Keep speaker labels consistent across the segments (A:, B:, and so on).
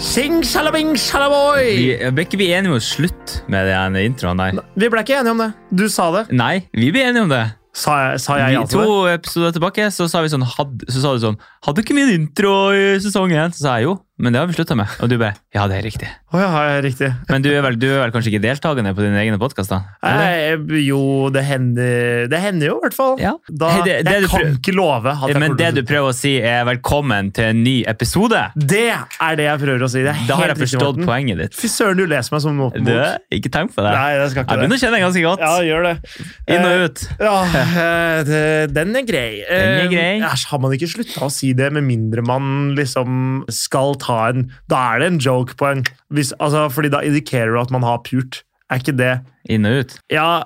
A: Salabing, salabing,
B: Vi
A: salaboy!
B: ble ikke vi enige om å slutte med den introen der?
A: Vi ble ikke enige om det. Du sa det.
B: Nei, vi ble enige om det.
A: Sa jeg, sa jeg
B: Vi,
A: ja til
B: to
A: det?
B: episoder tilbake så sa, vi sånn, had, så sa du sånn Hadde ikke vi en intro i sesong én? Så sa jeg jo, men det har vi slutta med. Og du bare Ja, det er riktig.
A: Å ja, ja, riktig.
B: Men du er vel, du er vel kanskje ikke deltakende på dine egne podkaster?
A: Nei, jo, det hender, det hender jo, i hvert fall.
B: Ja.
A: Da,
B: Hei, det- det
A: jeg
B: du
A: kan
B: prøv-
A: ikke love at jeg
B: Men det
A: kommer
B: du
A: til å-
B: prøver å si, er velkommen til en ny episode.
A: Det er det jeg prøver å si. Det er
B: Da har jeg
A: helt riktig,
B: forstått
A: Morten.
B: poenget ditt.
A: Fy søren, du leser meg som en åpen
B: Du,
A: bok.
B: ikke tenk på det.
A: Nei, jeg skal
B: Jeg
A: ikke
B: begynner
A: det.
B: å kjenne deg ganske godt.
A: Ja, gjør det.
B: Inn
A: Eh,
B: og ut.
A: Ja, eh, det- den er grei.
B: Den er grei.
A: Eh, Æsj, har man ikke slutta å si det, med mindre man liksom skal ta en Da er det en joke på en hvis, altså, Fordi da indikerer du at man har pult. Er ikke det
B: Inn og ut.
A: Ja,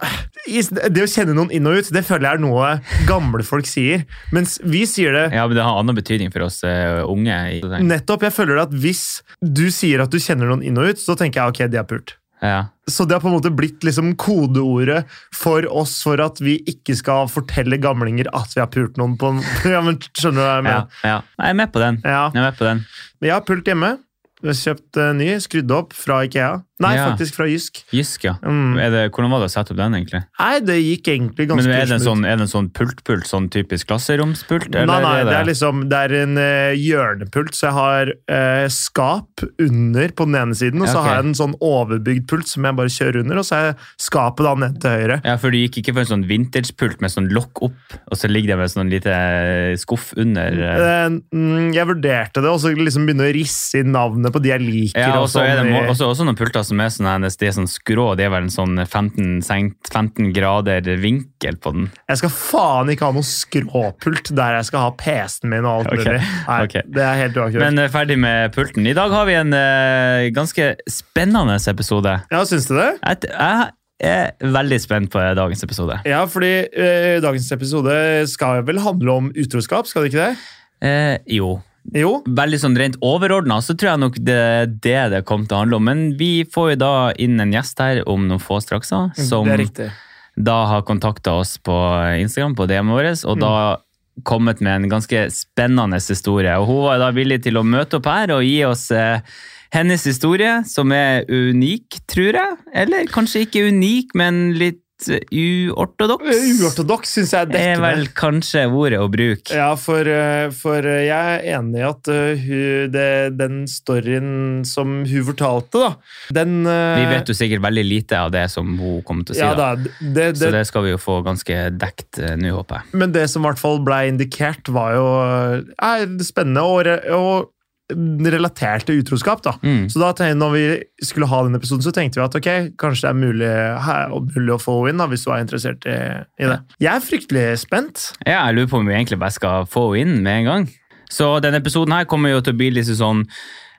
A: i- det å kjenne noen inn og ut, det føler jeg er noe gamle folk sier. Mens vi sier det
B: Ja, men det har annen betydning for oss eh, unge. i-
A: nettopp. Jeg føler at hvis du sier at du kjenner noen inn og ut, så tenker jeg ok, de har pult.
B: Ja.
A: Så det har på en måte blitt liksom kodeordet for oss for at vi ikke skal fortelle gamlinger at vi har pult noen på en ja, men Skjønner du
B: Ja,
A: hva jeg mener?
B: ja. Jeg er med på den.
A: Ja.
B: Jeg er med på den.
A: Men Jeg har pult hjemme. Jeg har Kjøpt eh, ny, skrudd opp fra Ikea. Nei,
B: Ja.
A: faktisk fra Jysk.
B: Jysk, ja.
A: Mm.
B: Er det, hvordan var det å sette opp den, egentlig?
A: Nei, det gikk egentlig
B: Men
A: ganske
B: er det en
A: smooth.
B: sånn, er det en sånn pult-pult, sånn typisk klasseromspult?
A: Nei, nei, det er liksom Det er en eh, hjørnepult, så jeg har eh, skap under på den ene siden, og så
B: Ok.
A: har jeg en sånn overbygd pult som jeg bare kjører under, og så er skapet da ned til høyre.
B: Ja, for du gikk ikke for en sånn vintage-pult med sånn lokk opp, og så ligger det med sånn lite skuff under. eh.
A: Eh, mm, Jeg vurderte det, og så liksom begynne å risse inn navnet på de jeg liker.
B: Ja, og så er det
A: sånn
B: må-
A: i-
B: også, også noen pulter som er sånn, her, de er sånn skrå, det er vel en sånn 15, senkt- 15 grader vinkel på den.
A: Jeg skal faen ikke ha noe skråpult der jeg skal ha PC-en min og alt
B: Ok,
A: mulig. Nei,
B: ok.
A: Det er helt uaktuelt.
B: Men eh, ferdig med pulten. I dag har vi en eh, ganske spennende episode.
A: ja, syns du det?
B: Jeg, jeg er veldig spent på dagens episode.
A: Ja, fordi eh, dagens episode skal vel handle om utroskap, skal det ikke det?
B: Eh, jo.
A: Jo.
B: Veldig sånn rent overordna så tror jeg nok det er det det kom til å handle om. Men vi får jo da inn en gjest her om noen få strakser, som
A: Mm, det er riktig.
B: da har kontakta oss på Instagram, på DM-en vår, og da
A: Mm.
B: kommet med en ganske spennende historie. Og hun var da villig til å møte opp her og gi oss eh, hennes historie, som er unik, tror jeg. Eller kanskje ikke unik, men litt eh, uortodoks.
A: Eh, Uortodoks syns jeg
B: er
A: er dekkende.
B: Eh, vel kanskje ordet å bruke.
A: Ja, for, eh, for eh, jeg er enig i at eh, hun, det, den storyen som hun fortalte, da den, eh,
B: Vi vet jo sikkert veldig lite av det som hun kommer til å si,
A: ja,
B: da.
A: da, det,
B: så
A: det,
B: det skal vi jo få ganske dekt eh, nå, håper jeg.
A: Men det som i hvert fall ble indikert, var jo eh, er spennende og, re- og relatert til utroskap. da.
B: Mm.
A: Så da tenkte, når vi skulle ha den episoden, så tenkte vi at ok, kanskje det er mulig, her, og mulig å få henne inn da, hvis du er interessert i, i det. Jeg er fryktelig spent.
B: Ja, jeg lurer på om vi egentlig bare skal få henne inn med en gang. Så denne episoden her kommer jo til å bli litt sånn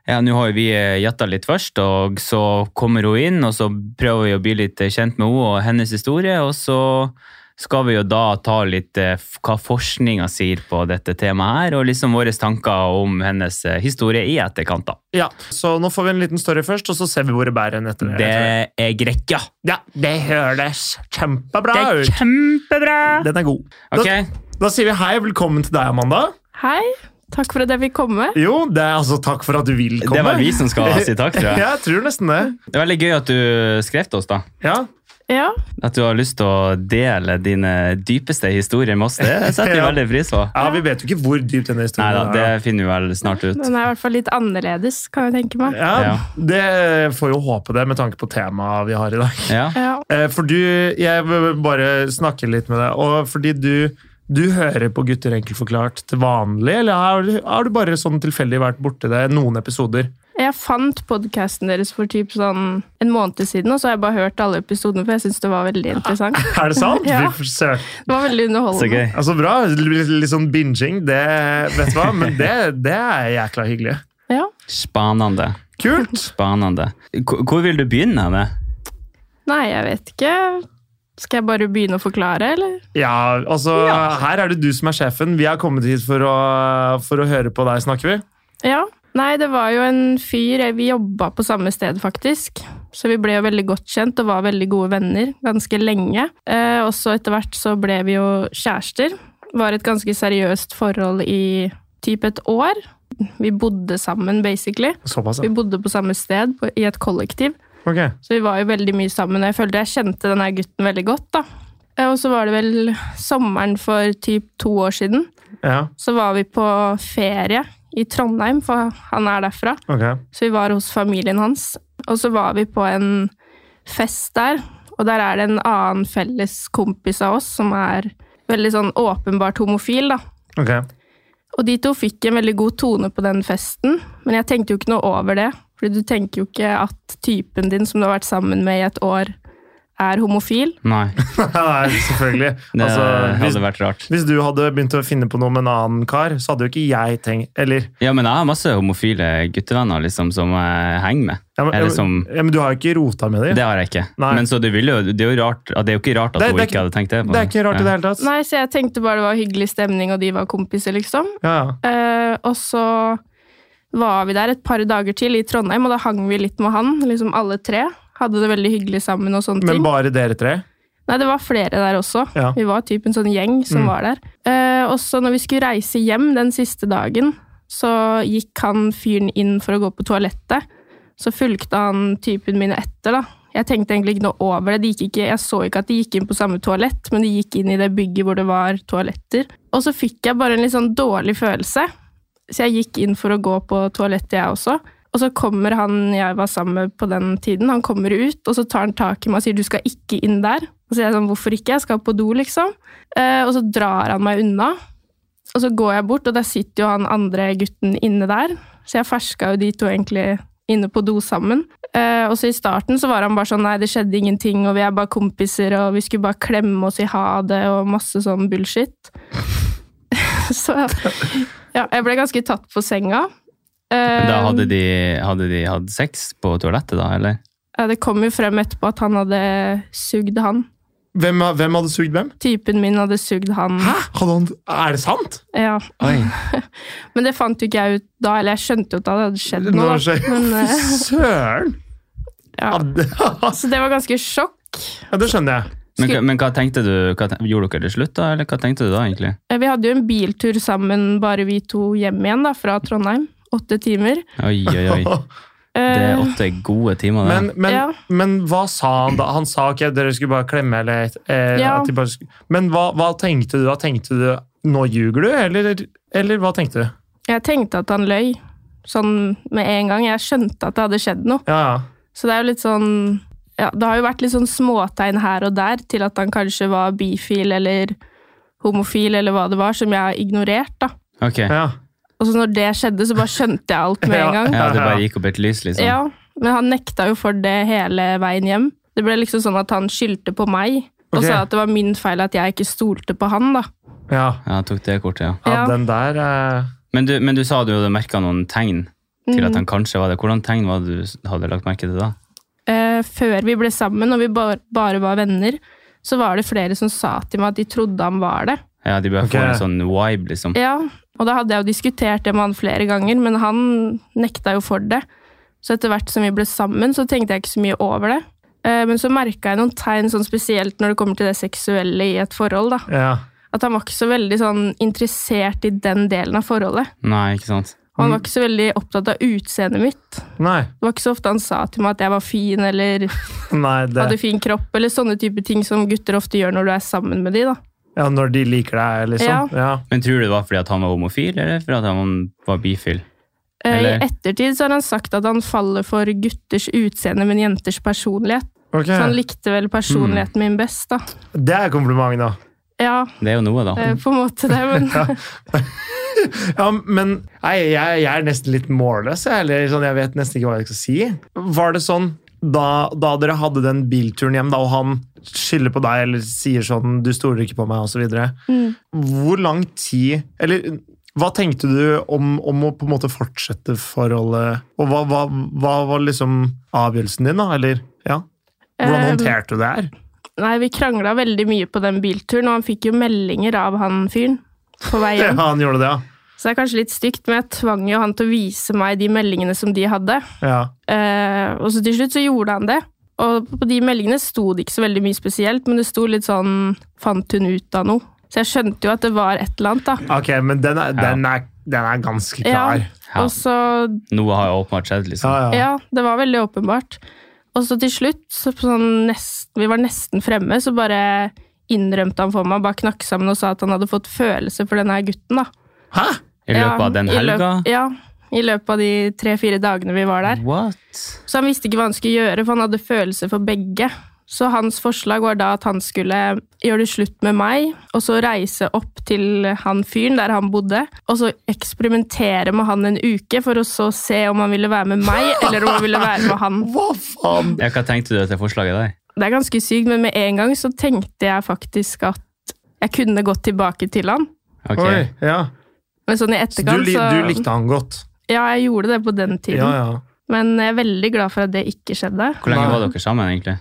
B: ja, Nå har jo vi eh, gjetta litt først, og så kommer hun inn, og så prøver vi å bli litt eh, kjent med henne og hennes historie, og så skal vi jo da ta litt eh, f- hva forskninga sier på dette temaet her, og liksom våre tanker om hennes eh, historie i etterkant, da.
A: Ja, Så nå får vi en liten story først, og så ser vi hvor det bærer hen etter
B: Det er grekka.
A: Ja, det høres kjempebra
B: Det er
A: ut!
B: kjempebra!
A: Den er god.
B: Ok,
A: Da, da sier vi hei, velkommen til deg, Amanda.
C: Hei. Takk for at jeg fikk komme.
A: Jo, det er altså takk for at du vil komme.
B: det var vi som skal si takk, tror jeg.
A: Ja, jeg tror nesten det.
B: Det er veldig gøy at du skrev til oss, da.
A: Ja,
C: Ja,
B: At du har lyst til å dele dine dypeste historier med oss. Det setter vi
A: Ja.
B: veldig pris på.
A: Ja, Vi vet jo ikke hvor dypt
B: Nei
A: denne
B: da,
A: historien
B: det
A: er. da.
B: finner vi vel snart ut.
C: den er i hvert fall litt annerledes, kan jeg tenke meg.
A: Ja,
B: Ja.
A: Det får jo håpe det, med tanke på temaet vi har i dag.
B: Ja.
C: Ja.
A: Eh, For du, jeg vil bare snakke litt med deg, og fordi du du hører på Gutter enkelt forklart til vanlig, eller har du, har du bare sånn tilfeldig vært borti det noen episoder?
C: Jeg fant podkasten deres for typ sånn en måned siden, og så har jeg bare hørt alle episodene, for jeg syns det var veldig interessant.
A: Er det sant?
C: Ja.
A: Fy søren.
C: Det var veldig
B: Så
C: underholdende.
B: gøy.
A: Ja, så Altså, bra. Litt litt sånn binging, det vet du hva, men det, det er jækla hyggelig.
C: Ja.
B: Spanende.
A: Kult!
B: Spanende. Hvor hvor vil du begynne med?
C: Nei, jeg vet ikke. Skal jeg bare begynne å forklare, eller?
A: Ja, altså, her er det du som er sjefen. Vi har kommet hit for å, for å høre på deg, snakker vi.
C: Ja. Nei, det var jo en fyr eh, Vi jobba på samme sted, faktisk. Så vi ble jo veldig godt kjent og var veldig gode venner ganske lenge. Eh, og så etter hvert så ble vi jo kjærester. Var et ganske seriøst forhold i typ et år. vi bodde sammen, basically.
A: Såpass,
C: Vi
A: ja.
C: bodde på samme sted, på, i et kollektiv.
A: Ok.
C: Så vi var jo veldig mye sammen, og jeg følte jeg kjente denne gutten veldig godt, da. Eh, Og så var det vel sommeren for typ to år siden,
A: Ja,
C: så var vi på ferie i Trondheim, for han er derfra.
A: ok.
C: Så vi var hos familien hans, og så var vi på en fest der, og der er det en annen felles kompis av oss som er veldig sånn åpenbart homofil, da.
A: Ok.
C: Og de to fikk en veldig god tone på den festen, men jeg tenkte jo ikke noe over det. Fordi du tenker jo ikke at typen din som du har vært sammen med i et år, er homofil.
B: Nei,
A: Nei, selvfølgelig.
B: det
A: Altså, hvis,
B: hadde vært rart.
A: hvis du hadde begynt å finne på noe med en annen kar, så hadde jo ikke jeg tenkt Eller
B: Ja, men jeg har masse homofile guttevenner liksom, som jeg henger med.
A: ja, men,
B: Eller som-
A: ja, men du har jo ikke rota med dem.
B: Det har jeg ikke.
A: Nei.
B: Men så det, vil jo, det, er jo rart, det er jo ikke rart at hun
A: Det- det er
B: ikke
A: ikke-
B: hadde tenkt det. på
A: Det er ikke rart i
B: Ja.
A: det hele tatt.
C: Nei, så jeg tenkte bare det var hyggelig stemning, og de var kompiser, liksom.
A: Ja, ja.
C: Eh, og så var vi der et par dager til i Trondheim, og da hang vi litt med han, liksom alle tre. Hadde det veldig hyggelig sammen og sånne
A: Men
C: ting.
A: bare dere tre?
C: Nei, det var flere der også.
A: Ja. Mm.
C: Vi var typ en sånn gjeng som var der. Eh, og så når vi skulle reise hjem den siste dagen, så gikk han fyren inn for å gå på toalettet. Så fulgte han typen min etter, da. Jeg tenkte egentlig ikke noe over det. De gikk ikke, jeg så ikke at de gikk inn på samme toalett, men de gikk inn i det bygget hvor det var toaletter. Og så fikk jeg bare en litt sånn dårlig følelse. Så jeg gikk inn for å gå på toalettet, jeg også. Og så kommer han jeg var sammen med på den tiden, han kommer ut, og så tar han tak i meg og sier 'du skal ikke inn der'. Og så er jeg sånn 'hvorfor ikke, jeg skal på do', liksom. Eh, og så drar han meg unna. Og så går jeg bort, og der sitter jo han andre gutten inne der. Så jeg ferska jo de to egentlig inne på do sammen. Eh, og så i starten så var han bare sånn 'nei, det skjedde ingenting', og vi er bare kompiser, og vi skulle bare klemme og si ha det, og masse sånn bullshit. så ja, jeg ble ganske tatt på senga.
B: Men Da
C: Eh,
B: hadde de, hadde de hatt sex på toalettet, da? eller?
C: Ja, det kom jo frem etterpå at han hadde sugd han.
A: Hvem, hvem hadde sugd hvem?
C: Typen min hadde sugd han.
A: Hæ? Hadde han, er det sant?
C: Ja.
B: Oi.
C: Men det fant jo ikke jeg ut da, eller jeg skjønte jo at det hadde skjedd
A: Nå
C: noe. da.
A: skjer-
C: Men, eh,
A: Søren!
C: ja.
A: Ja, det-
C: Så det var ganske sjokk.
A: ja, det skjønner jeg.
B: Men,
C: Skulle-
B: hva- men hva tenkte du? Hva, ten- gjorde dere det slutt, da? Eller hva tenkte du da, egentlig?
C: Eh, Vi hadde jo en biltur sammen, bare vi to hjem igjen da, fra Trondheim. Åtte timer.
B: Oi, oi, oi. Det er
C: Eh,
B: åtte gode timer, det.
A: Men, men,
C: Ja.
A: men hva sa han da? Han sa ikke at dere skulle bare klemme, eller eh,
C: Ja.
A: at de bare skulle Men hva, hva tenkte du da? Tenkte du nå ljuger du, eller, eller hva tenkte du?
C: jeg tenkte at han løy, sånn med en gang. Jeg skjønte at det hadde skjedd noe.
A: Ja, ja.
C: Så det er jo litt sånn ja, Det har jo vært litt sånn småtegn her og der til at han kanskje var bifil eller homofil eller hva det var, som jeg har ignorert. da.
B: Ok. Ja,
A: ja.
C: Og så når det skjedde, så bare skjønte jeg alt med
A: Ja.
C: en gang.
B: det bare gikk opp et lys, liksom.
C: Ja, Men han nekta jo for det hele veien hjem. Det ble liksom sånn at han skyldte på meg og
A: Ok.
C: sa at det var min feil at jeg ikke stolte på han. da.
A: Ja,
B: Ja, jeg tok det kortet, ja.
A: ja,
C: Ja.
A: den der eh,
B: Men du, men du sa du hadde merka noen tegn til
C: Mm.
B: at han kanskje var det. Hvordan tegn var det du hadde lagt merke til da?
C: Eh, før vi ble sammen, og vi bar, bare var venner, så var det flere som sa til meg at de trodde han var det.
B: Ja, De bare
A: Ok.
B: får en sånn vibe, liksom.
C: Ja, og da hadde jeg jo diskutert det med han flere ganger, men han nekta jo for det. Så etter hvert som vi ble sammen, så tenkte jeg ikke så mye over det. Eh, Men så merka jeg noen tegn, sånn spesielt når det kommer til det seksuelle i et forhold. da.
A: ja.
C: At han var ikke så veldig sånn interessert i den delen av forholdet.
B: Nei, ikke sant?
C: Og han var ikke så veldig opptatt av utseendet mitt.
A: Nei.
C: Det var ikke så ofte han sa til meg at jeg var fin eller
A: Nei det,
C: hadde fin kropp, eller sånne type ting som gutter ofte gjør når du er sammen med de. da.
A: ja, når de liker deg, liksom. Ja.
B: Men tror du det var fordi at han var homofil, eller fordi at han var bifil?
C: Eh,
B: Eller-
C: I ettertid så har han sagt at han faller for gutters utseende, men jenters personlighet.
A: Ok.
C: Så han likte
A: Mm.
C: vel personligheten min best, da.
A: Det er kompliment, da.
C: Ja,
B: Det er jo noe, da.
C: eh, på en måte det, men
A: Ja, men nei, jeg, jeg er nesten litt målløs. Jeg, eller sånn, jeg vet nesten ikke hva jeg skal si. Var det sånn da, da dere hadde den bilturen hjem, da, og han skylder på deg eller sier sånn 'du stoler ikke på meg', osv.
C: Mm.
A: Hvor lang tid Eller hva tenkte du om, om å på en måte fortsette forholdet? Og hva, hva, hva var liksom avgjørelsen din, da? Eller ja, hvordan
C: Eh,
A: håndterte du det her?
C: Nei, vi krangla veldig mye på den bilturen, og han fikk jo meldinger av han fyren på vei
A: Ja,
C: hjem.
A: han gjorde det, ja.
C: Så det er kanskje litt stygt, men jeg tvang jo han til å vise meg de meldingene som de hadde.
A: ja.
C: Eh, og så til slutt så gjorde han det. Og på de meldingene sto det ikke så veldig mye spesielt, men det sto litt sånn 'fant hun ut av noe'? Så jeg skjønte jo at det var et eller annet, da.
A: Ok, men den er, den er, den er ganske
C: Ja,
A: klar.
B: Ja.
C: Og så
B: Noe har jo åpenbart skjedd, liksom.
A: Ja, ja.
C: Ja, det var veldig åpenbart. Og så til slutt, så på sånn nest, vi var nesten fremme, så bare innrømte han for meg, bare knakk sammen og sa at han hadde fått følelse for denne gutten. da.
A: Hæ?
B: I løpet
C: Ja,
B: av den
C: i løp-
B: helga.
C: Ja, i løpet av de tre-fire dagene vi var der.
B: What?
C: Så han visste ikke hva han skulle gjøre, for han hadde følelser for begge. Så hans forslag var da at han skulle gjøre det slutt med meg, og så reise opp til han fyren der han bodde, og så eksperimentere med han en uke, for å så se om han ville være med meg, eller om han ville være med han.
A: Hva faen?
B: Ja, hva tenkte du etter forslaget der?
C: Det er ganske sykt, men med en gang så tenkte jeg faktisk at jeg kunne gått tilbake til han.
B: Ok.
A: Oi, ja.
C: Men sånn
A: Så
C: i
A: du,
C: etterkant,
A: li-
C: så
A: du likte han godt?
C: Ja, jeg gjorde det på den tiden.
A: Ja, ja.
C: Men jeg er veldig glad for at det ikke skjedde.
B: Hvor lenge
A: Nei.
B: var dere sammen, egentlig?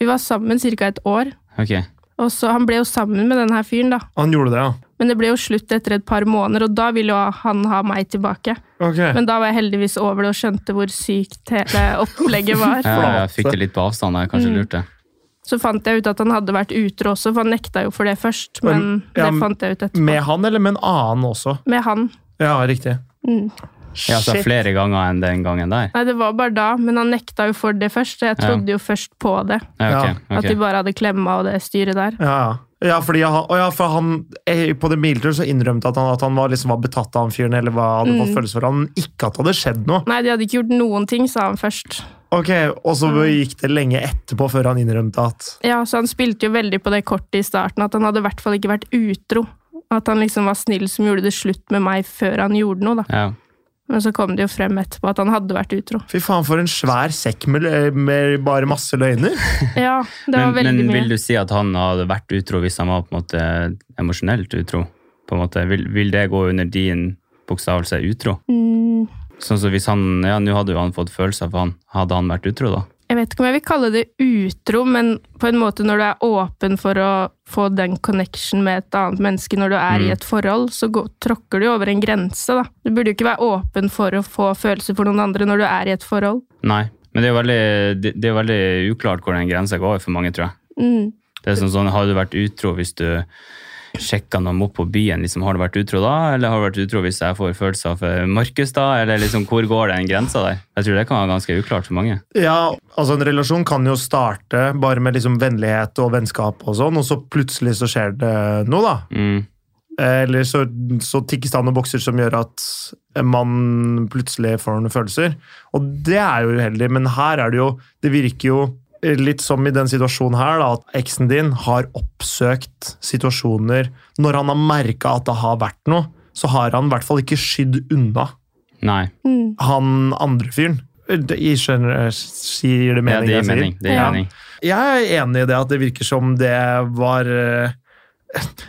C: Vi var sammen ca. et år.
B: Ok.
C: Og så Han ble jo sammen med den her fyren, da.
A: Han gjorde det, ja.
C: Men det ble jo slutt etter et par måneder, og da ville jo han ha meg tilbake.
A: Ok.
C: Men da var jeg heldigvis over det og skjønte hvor sykt hele opplegget var.
B: Ja,
A: Flate.
B: jeg fikk det litt på avstand der,
C: Mm.
B: kanskje lurte.
C: Så fant jeg ut at han hadde vært utro også, for han nekta jo for det først. Men
A: Men, ja,
C: det fant jeg ut etterpå.
A: Med han eller med en annen også?
C: Med han.
A: Ja, riktig.
C: Mm.
B: Ja, altså
A: Shit.
B: flere ganger enn den gangen der.
C: Nei, det var bare da, men han nekta jo for det først. så Jeg
B: Ja.
C: trodde jo først på det.
B: Ja, ok,
C: At de
B: ok.
C: bare hadde klemma og det styret der.
A: Ja, ja. Ja, fordi han, å ja, for han eh, på den bilturen så innrømte at han at han var, liksom, var betatt av han fyren, eller hva hadde fått følelse for han, ikke at det hadde skjedd noe.
C: Nei, de hadde ikke gjort noen ting, sa han først.
A: Ok, Og så gikk det lenge etterpå før han innrømte at
C: Ja, så han spilte jo veldig på det kortet i starten, at han hadde i hvert fall ikke vært utro. At han liksom var snill som gjorde det slutt med meg før han gjorde noe, da.
B: Ja.
C: Men så kom det jo frem etterpå at han hadde vært utro.
A: Fy faen, for en svær sekk med, lø- med bare masse løgner.
C: Ja, det var
B: Men,
C: veldig
B: men
C: mye.
B: vil du si at han hadde vært utro hvis han var på en måte emosjonelt utro? På en måte, vil, vil det gå under din bokstavelse utro?
C: Mm,
B: Sånn som hvis han, ja, nå hadde jo han fått følelser for han. Hadde han vært utro da?
C: jeg vet ikke om jeg vil kalle det utro, men på en måte når du er åpen for å få den connection med et annet menneske når du er
B: Mm.
C: i et forhold, så gå- tråkker du jo over en grense, da. Du burde jo ikke være åpen for å få følelser for noen andre når du er i et forhold.
B: Nei. Men det er jo veldig, det, det er jo veldig uklart hvor den grensa går for mange, tror jeg.
C: Mm.
B: Det er sånn, sånn, Har du vært utro hvis du sjekka noen opp på byen? Liksom, har du vært utro da, eller har du vært utro hvis jeg får følelser for Markus da? Eller liksom, hvor går den grensa der? Jeg tror det kan være ganske uklart for mange.
A: Ja, altså En relasjon kan jo starte bare med liksom vennlighet og vennskap, og sånn, og så plutselig så skjer det noe, da. Eh,
B: Mm.
A: Eller så, så tikkes det an noen bokser som gjør at man plutselig får noen følelser. Og det er jo uheldig, men her er det jo Det virker jo litt som i den situasjonen her, da, at eksen din har oppsøkt situasjoner Når han har merka at det har vært noe, så har han i hvert fall ikke skydd unna
B: Nei.
C: Mm.
A: han andre fyren. Det- Jeg skjønner, sier
B: Ja,
A: det mening?
B: det
A: jeg
B: gir
A: sier?
B: mening. Det gir
C: Ja.
B: mening.
A: Jeg er enig i det at det virker som det var eh,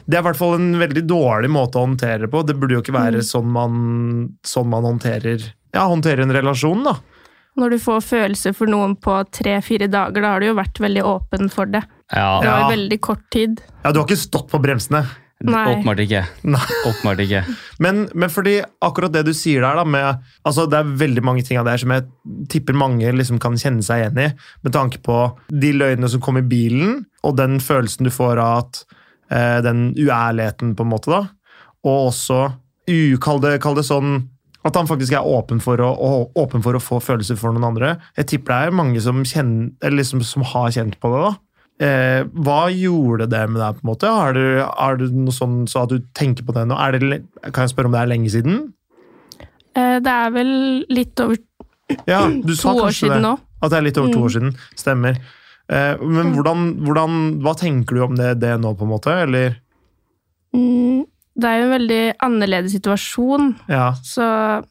A: Det er i hvert fall en veldig dårlig måte å håndtere det på. Det burde jo ikke være sånn man, sånn man håndterer ja, håndterer en relasjon, da.
C: Når du får følelser for noen på tre-fire dager, da har du jo vært veldig åpen for det. Det
B: Ja,
C: var
A: Ja.
C: jo veldig kort tid.
A: Ja, du har ikke stått på bremsene.
C: Nei.
B: åpenbart ikke.
A: Nei.
B: Åpenbart ikke.
A: Men, men fordi akkurat det du sier der, da, med, altså det er veldig mange ting av det her som jeg tipper mange liksom kan kjenne seg igjen i, med tanke på de løgnene som kom i bilen, og den følelsen du får av at eh, den uærligheten, på en måte, da. Og også u- kall det, kall det sånn at han faktisk er åpen for, å, å, åpen for å få følelser for noen andre. Jeg tipper det er mange som, kjenner, eller liksom, som har kjent på det. da. Eh, hva gjorde det med deg, på en måte? Har du, har du noe sånn så at du tenker på det nå? Er det, le- kan jeg spørre om det er lenge siden?
C: Eh, Det er vel litt over
A: Ja, du sa
C: to år
A: kanskje
C: siden
A: det.
C: nå.
A: At det er litt over to
C: Mm.
A: år siden. Stemmer. Eh, men hvordan, hvordan, hva tenker du om det, det nå, på en måte? Eller
C: Mm, Det er jo en veldig annerledes situasjon,
A: Ja.
C: så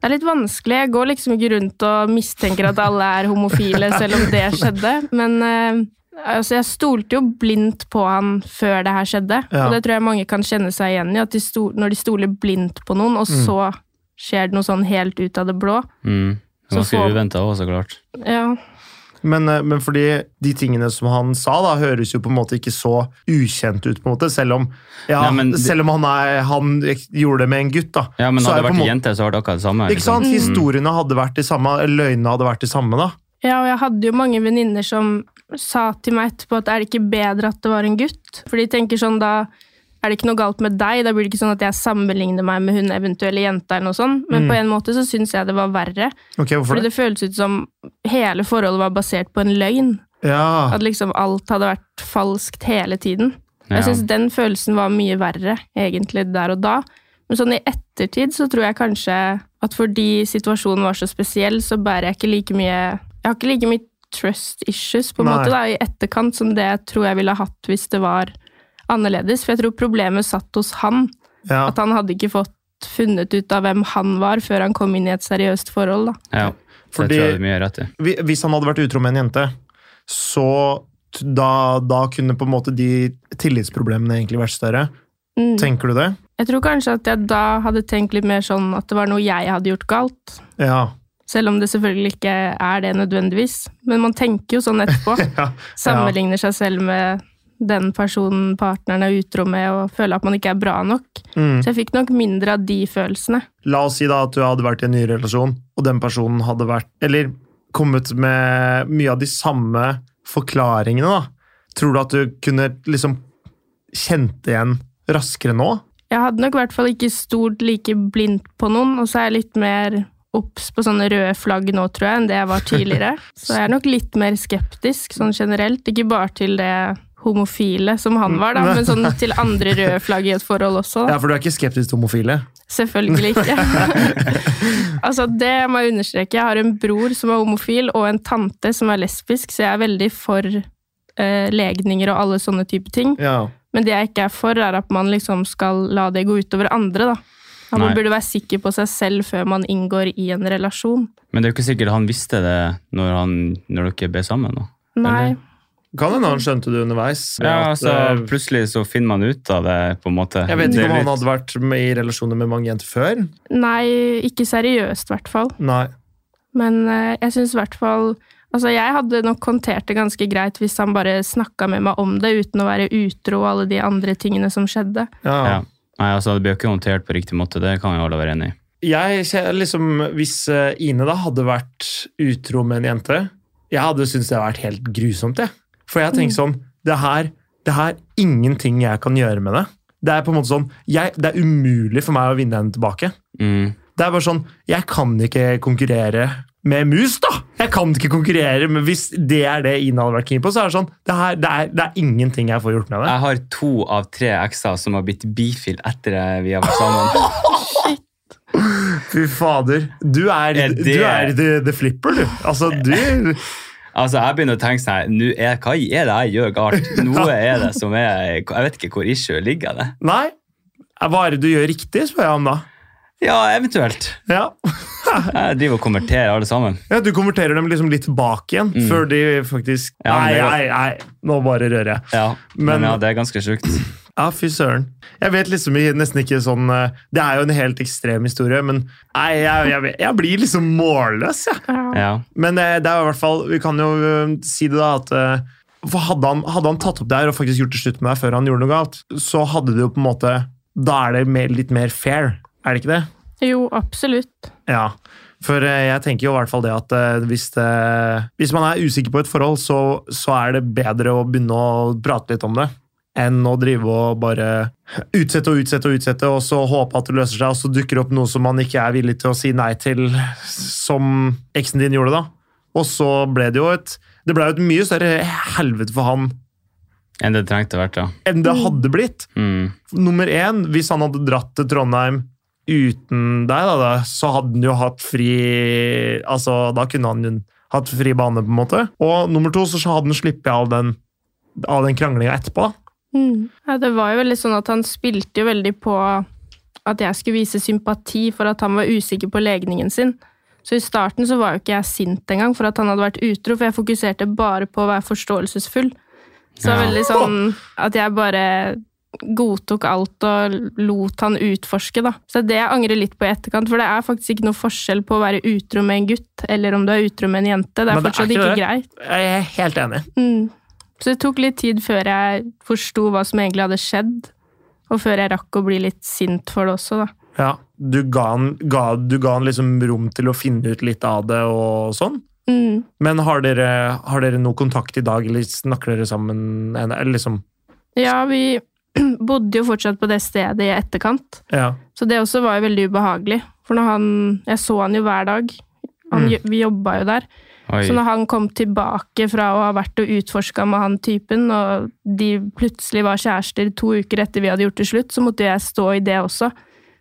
C: det er litt vanskelig. Jeg går liksom ikke rundt og mistenker at alle er homofile, selv om det skjedde. Men eh, altså, jeg stolte jo blindt på han før det her skjedde.
A: Ja.
C: Og det tror jeg mange kan kjenne seg igjen i, at de sto, når de stoler blindt på noen, og
A: Mm.
C: så skjer det noe sånn helt ut av det blå.
B: Mm.
C: Så
B: Ganske
C: får-
B: uventa òg, så klart.
C: Ja,
A: Men, eh, men fordi de tingene som han sa, da, høres jo på en måte ikke så ukjent ut, på en måte. Selv om, ja,
B: Nei, men det-
A: selv om han, er, han gjorde det med en gutt, da.
B: Ja, men
A: så
B: hadde
A: er
B: det
A: på en
B: vært
A: måte-
B: ei jente, så hadde det akkurat det samme. liksom.
A: Ikke sant?
C: Mm.
A: Historiene hadde vært de samme, løgnene hadde vært de samme, da.
C: Ja, og jeg hadde jo mange venninner som sa til meg etterpå at er det ikke bedre at det var en gutt? For de tenker sånn da er det ikke noe galt med deg? Da blir det ikke sånn at jeg sammenligner meg med hun eventuelle jenta. eller noe sånt. Men
A: Mm.
C: på en måte så syns jeg det var verre.
A: Ok, hvorfor
C: Fordi
A: det?
C: det føles ut som hele forholdet var basert på en løgn.
A: Ja.
C: At liksom alt hadde vært falskt hele tiden.
B: Ja.
C: Jeg syns den følelsen var mye verre, egentlig, der og da. Men sånn i ettertid så tror jeg kanskje at fordi situasjonen var så spesiell, så bærer jeg ikke like mye Jeg har ikke like mye trust issues, på en
A: Nei.
C: måte, da, i etterkant, som det jeg tror jeg ville hatt hvis det var annerledes. For jeg tror problemet satt hos han.
A: ja.
C: At han hadde ikke fått funnet ut av hvem han var, før han kom inn i et seriøst forhold, da.
B: Ja. Det tror
A: Fordi-
B: jeg du har mye rett i.
A: Hvi- Hvis han hadde vært utro med en jente, så t- da, da kunne på en måte de tillitsproblemene egentlig vært større.
C: Mm.
A: Tenker du det?
C: Jeg tror kanskje at jeg da hadde tenkt litt mer sånn at det var noe jeg hadde gjort galt.
A: Ja.
C: Selv om det selvfølgelig ikke er det nødvendigvis. Men man tenker jo sånn etterpå.
A: ja.
C: Sammenligner seg selv med den personen partneren er utro med, og føler at man ikke er bra nok.
A: Mm.
C: Så jeg fikk nok mindre av de følelsene.
A: La oss si da at du hadde vært i en ny relasjon, og den personen hadde vært Eller kommet med mye av de samme forklaringene, da. Tror du at du kunne liksom kjent igjen raskere nå?
C: Jeg hadde nok i hvert fall ikke stolt like blindt på noen, og så er jeg litt mer obs på sånne røde flagg nå, tror jeg, enn det jeg var tidligere. Så jeg er nok litt mer skeptisk sånn generelt, ikke bare til det homofile som han var, da, men sånn til andre røde flagg i et forhold også. Da.
A: Ja, for du er ikke skeptisk til homofile?
C: Selvfølgelig ikke. altså, det må jeg understreke. Jeg har en bror som er homofil, og en tante som er lesbisk, så jeg er veldig for eh, legninger og alle sånne type ting.
A: Ja.
C: Men det jeg ikke er for, er at man liksom skal la det gå utover andre, da. At Man
B: Nei.
C: burde være sikker på seg selv før man inngår i en relasjon.
B: Men det er jo ikke sikkert han visste det når, han, når dere ble sammen. Da.
C: Nei.
A: Kan hende han skjønte det underveis.
B: Ja,
A: at,
B: altså,
A: eh,
B: plutselig så finner man ut av det, på en måte.
A: jeg vet
B: Det er
A: ikke om
B: litt-
A: han hadde vært med i relasjoner med mange jenter før.
C: Nei, ikke seriøst, i hvert fall.
A: Nei.
C: Men eh, jeg syns i hvert fall Altså, jeg hadde nok håndtert det ganske greit hvis han bare snakka med meg om det uten å være utro og alle de andre tingene som skjedde.
A: Ja.
B: Ja. Nei, altså, det blir jo ikke håndtert på riktig måte, det kan jo alle være enig i.
A: Jeg kje- liksom, Hvis eh, Ine da hadde vært utro med en jente Jeg hadde syntes det hadde vært helt grusomt. Jeg. For jeg tenker sånn det her, det her er ingenting jeg kan gjøre med det. Det er på en måte sånn, jeg, det er umulig for meg å vinne henne tilbake.
B: Mm.
A: Det er bare sånn Jeg kan ikke konkurrere med mus, da! Jeg kan ikke konkurrere, men hvis det er det Ine hadde vært keen på, så er det sånn Det, her, det, er, det er ingenting jeg får gjort med det.
B: Jeg har to av tre ekser som har blitt bifil etter at vi har vært sammen.
A: Fy fader. Du er,
B: Er det-
A: du er the, the flipper, du. Altså, du
B: Altså, Jeg begynner å tenke sånn her, nå er, hva er det jeg gjør galt? Noe er det som er Jeg vet ikke hvor issue ligger. det.
A: Nei. Hva er det du gjør riktig, spør jeg om da.
B: Ja, eventuelt.
A: Ja,
B: Jeg driver og konverterer alle sammen.
A: ja Du konverterer dem liksom litt tilbake igjen,
B: Mm.
A: før de faktisk
B: Ja, men
A: Nei,
B: det-
A: nei, nei, nå bare rører jeg.
B: Ja, men,
A: Men-
B: ja, det er ganske sjukt.
A: Ja, fy søren. Jeg vet liksom i- nesten ikke sånn eh, Det er jo en helt ekstrem historie, men nei, jeg, jeg, jeg blir liksom målløs, jeg.
B: Ja.
A: Men eh, det er jo i hvert fall Vi kan jo eh, si det, da, at eh, for hadde han, hadde han tatt opp det her og faktisk gjort det slutt med deg før han gjorde noe galt, så hadde det jo på en måte Da er det mer, litt mer fair, er det ikke det?
C: Jo, absolutt.
A: Ja, for eh, jeg tenker jo i hvert fall det at eh, hvis, det, hvis man er usikker på et forhold, så, så er det bedre å begynne å prate litt om det, enn å drive og bare utsette og utsette og utsette, og så håpe at det løser seg, og så dukker det opp noe som man ikke er villig til å si nei til, som eksen din gjorde da. Og så ble det jo et, det ble jo et mye større helvete for han
B: Enn det trengte å vært, ja.
A: enn det hadde blitt.
B: Mm.
A: Nummer én, hvis han hadde dratt til Trondheim uten deg, da, da, så hadde han jo hatt fri Altså, da kunne han jo hatt fri bane, på en måte. Og nummer to, så hadde han sluppet all den, all den kranglinga etterpå. da.
C: Mm. Ja, det var jo veldig sånn at han spilte jo veldig på at jeg skulle vise sympati for at han var usikker på legningen sin. Så i starten så var jo ikke jeg sint engang for at han hadde vært utro, for jeg fokuserte bare på å være forståelsesfull. Så det var
B: Ja.
C: veldig sånn at jeg bare godtok alt og lot han utforske, da. Så det er det jeg angrer litt på i etterkant, for det er faktisk ikke noe forskjell på å være utro med en gutt, eller om du er utro med en jente. Det
A: Men
C: er
A: det er
C: fortsatt
A: ikke
C: ikke
A: det.
C: greit.
A: Jeg er helt enig.
C: Mm. Så det tok litt tid før jeg forsto hva som egentlig hadde skjedd, og før jeg rakk å bli litt sint for det også, da.
A: Ja. Du ga han, ga, du ga han liksom rom til å finne ut litt av det og sånn.
C: Mm.
A: Men har dere, har dere noe kontakt i dag, eller snakker dere sammen? Eller liksom
C: Ja, vi bodde jo fortsatt på det stedet i etterkant.
A: Ja.
C: Så det også var jo veldig ubehagelig. For når han Jeg så han jo hver dag. Han,
A: Mm.
C: jo- Vi jobba jo der.
B: Oi.
C: Så når han kom tilbake fra å ha vært og utforska med han typen, og de plutselig var kjærester to uker etter vi hadde gjort det slutt, så måtte jo jeg stå i det også.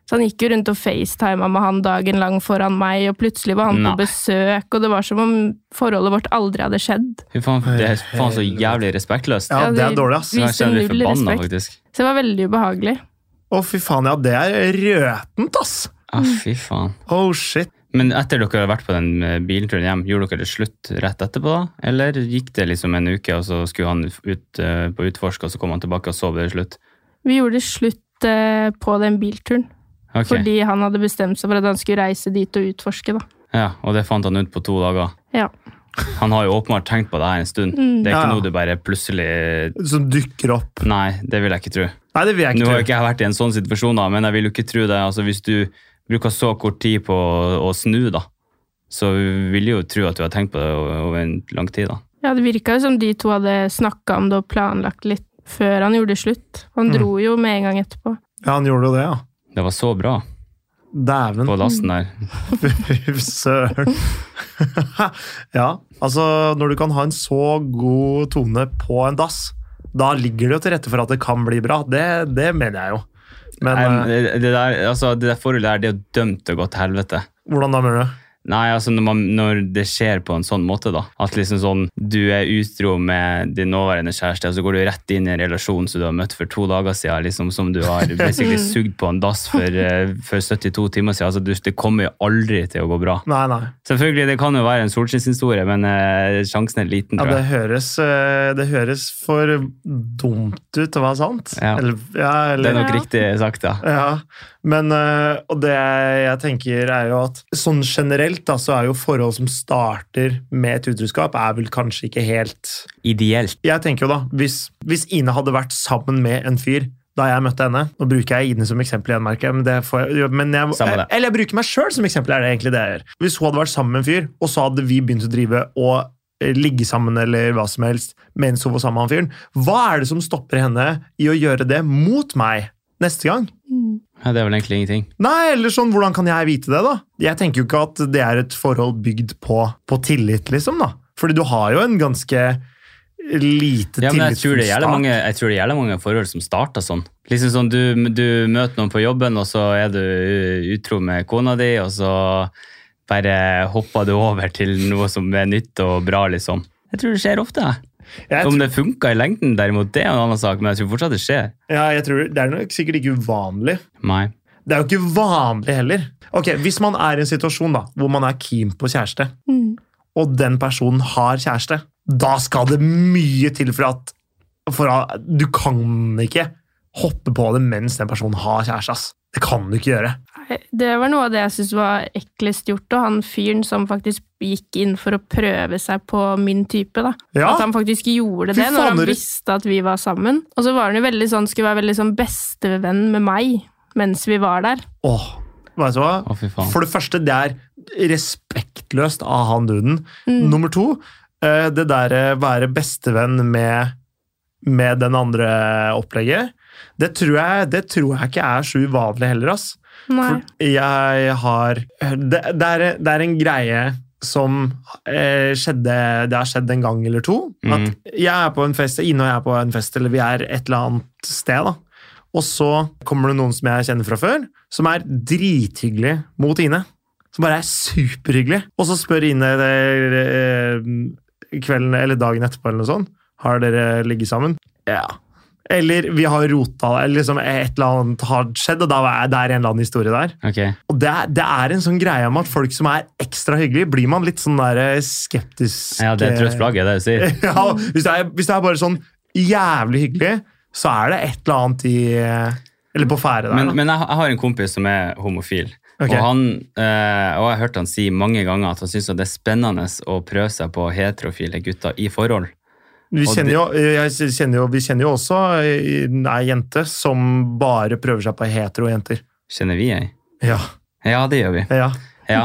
C: Så han gikk jo rundt og facetima med han dagen lang foran meg, og plutselig var han
B: Nei.
C: på besøk, og det var som om forholdet vårt aldri hadde skjedd.
B: Fy faen, det er faen så jævlig respektløst.
A: ja,
C: Ja,
A: det er
C: de-
A: dårlig, ass.
C: vi-
B: jeg kjenner litt
C: viser null
B: forbanna,
C: respekt.
B: faktisk.
C: Så det var veldig ubehagelig.
A: Å, fy faen, ja, det er røtent, ass!
B: Ja,
C: Mm.
B: fy faen.
A: Oh, shit.
B: Men etter dere har vært på den eh, bilturen hjem, gjorde dere det slutt rett etterpå da? Eller gikk det liksom en uke, og så skulle han ut eh, på utforsk, og så kom han tilbake og sov det slutt?
C: Vi gjorde slutt eh, på den bilturen,
B: Ok,
C: fordi han hadde bestemt seg for at han skulle reise dit og utforske, da.
B: ja, og det fant han ut på to dager.
C: Ja.
B: Han har jo åpenbart tenkt på det her en stund.
C: Mm.
B: Det er
A: Ja,
B: ikke
A: ja.
B: noe du bare plutselig...
A: Som dukker opp.
B: Nei, det vil jeg ikke tro.
A: Nei, det vil jeg
B: Nå
A: ikke
B: har
A: tro.
B: jo ikke jeg vært i en sånn situasjon da, men jeg vil jo ikke tro det. Altså, hvis du bruker så kort tid på å, å snu da, så vil jeg jo tro at du har tenkt på det over over en lang tid da.
C: Ja, det virka jo som de to hadde snakka om det og planlagt litt før han gjorde slutt. Han
A: Mm.
C: dro jo med en gang etterpå.
A: Ja, han gjorde jo det, ja.
B: Det var så bra
A: Dæven.
B: på lasten
C: Mm.
B: der.
A: Fy søren. ja, altså, når du kan ha en så god tone på en dass, da ligger det jo til rette for at det kan bli bra. Det, det mener jeg jo. Men
B: Nei, men
A: eh,
B: det, det, der, altså, det der forholdet der, det er jo dømt til å gå til helvete.
A: hvordan da, mener du?
B: Nei, altså når, man, når det skjer på en sånn måte, da. At liksom sånn, du er utro med din nåværende kjæreste, og så går du rett inn i en relasjon som du har møtt for to dager siden, liksom, som du har basically sugd på en dass for, eh, for 72 timer siden. Altså, du, det kommer jo aldri til å gå bra.
A: Nei, nei.
B: Selvfølgelig, det kan jo være en solskinnshistorie, men eh, sjansen er liten,
A: Ja,
B: tror
A: det
B: jeg.
A: høres, eh, det høres for dumt ut til å være sant.
B: Ja.
A: Eller, ja,
B: Det
A: eller,
B: er nok
C: Ja.
B: riktig sagt, da.
A: Ja, men øh, og det jeg tenker er jo at sånn generelt da, så er jo forhold som starter med et utroskap, er vel kanskje ikke helt
B: Ideelt.
A: Jeg tenker jo da, hvis, hvis Ine hadde vært sammen med en fyr da jeg møtte henne Nå bruker jeg Ine som eksempel igjen, merker jeg, men det får jeg, jo, men jeg
B: Samme det.
A: Eller jeg bruker meg sjøl som eksempel, er det egentlig det jeg gjør. Hvis hun hadde vært sammen med en fyr, og så hadde vi begynt å drive og eh, ligge sammen eller hva som helst mens hun var sammen med han fyren, hva er det som stopper henne i å gjøre det mot meg neste gang?
B: Ja, det er vel egentlig ingenting.
A: Nei, eller sånn, hvordan kan jeg vite det, da? Jeg tenker jo ikke at det er et forhold bygd på, på tillit, liksom, da. Fordi du har jo en ganske lite
B: Ja, men jeg tror,
A: tillitsfull
B: det er jævlig
A: start.
B: mange, jeg tror det er jævlig mange forhold som starter sånn. Liksom sånn, du, du møter noen på jobben, og så er du utro med kona di, og så bare hopper du over til noe som er nytt og bra, liksom. Jeg tror det skjer ofte. jeg.
A: Jeg
B: Om
A: tror,
B: det funker i lengden, derimot, det er en annen sak, men jeg tror fortsatt det skjer.
A: ja, jeg tror, det er nok sikkert ikke uvanlig.
B: Nei.
A: Det er jo ikke vanlig heller. Ok, Hvis man er i en situasjon da, hvor man er keen på kjæreste,
C: Mm.
A: og den personen har kjæreste, da skal det mye til for at, for at Du kan ikke hoppe på det mens den personen har kjæreste. ass. Det kan du ikke gjøre.
C: Nei, Det var noe av det jeg syntes var eklest gjort, og han fyren som faktisk gikk inn for å prøve seg på min type, da.
A: Ja.
C: At han faktisk
A: Fy
C: gjorde det når han
A: fader.
C: visste at vi var sammen. Og så var han jo veldig sånn, skulle være veldig sånn bestevenn med meg mens vi var der.
A: Åh, vet du hva?
B: Å, fy faen.
A: For det første, det er respektløst av han duden.
C: Mm.
A: Nummer to, eh, det der eh, være bestevenn med, med den andre opplegget, det tror, jeg, det tror jeg ikke er så uvanlig heller, ass.
C: Nei.
A: For jeg har det, det, er, det er en greie som eh, skjedde Det har skjedd en gang eller to. At
B: Mhm.
A: jeg er på en fest, Ine og jeg er på en fest, eller vi er et eller annet sted. da. Og så kommer det noen som jeg kjenner fra før, som er drithyggelig mot Ine. Som bare er superhyggelig. Og så spør Ine eh, kvelden eller dagen etterpå eller noe sånt. Har dere ligget sammen? Ja. Eller vi har rota, eller liksom et eller annet har skjedd, og da er det er en eller annen historie der.
B: Ok.
A: Og det er, det er en sånn greie om at folk som er ekstra hyggelige, blir man litt sånn der eh, skeptisk eh,
B: Ja, det er trøst flagget, det du sier.
A: Ja, hvis, det er, hvis det er bare sånn jævlig hyggelig, så er det et eller annet i eh, Eller på ferde der.
B: Men,
A: da.
B: men jeg, jeg har en kompis som er homofil.
A: Ok.
B: Og, han, eh, og jeg har hørt han si mange ganger at han syns det er spennende å prøve seg på heterofile gutter i forhold.
A: vi,
B: og
A: kjenner jo, jeg kjenner jo, vi kjenner jo også eh, ei jente som bare prøver seg på hetero-jenter.
B: Kjenner vi ei?
A: Ja,
B: Ja, det gjør vi.
A: ja.
B: Ja.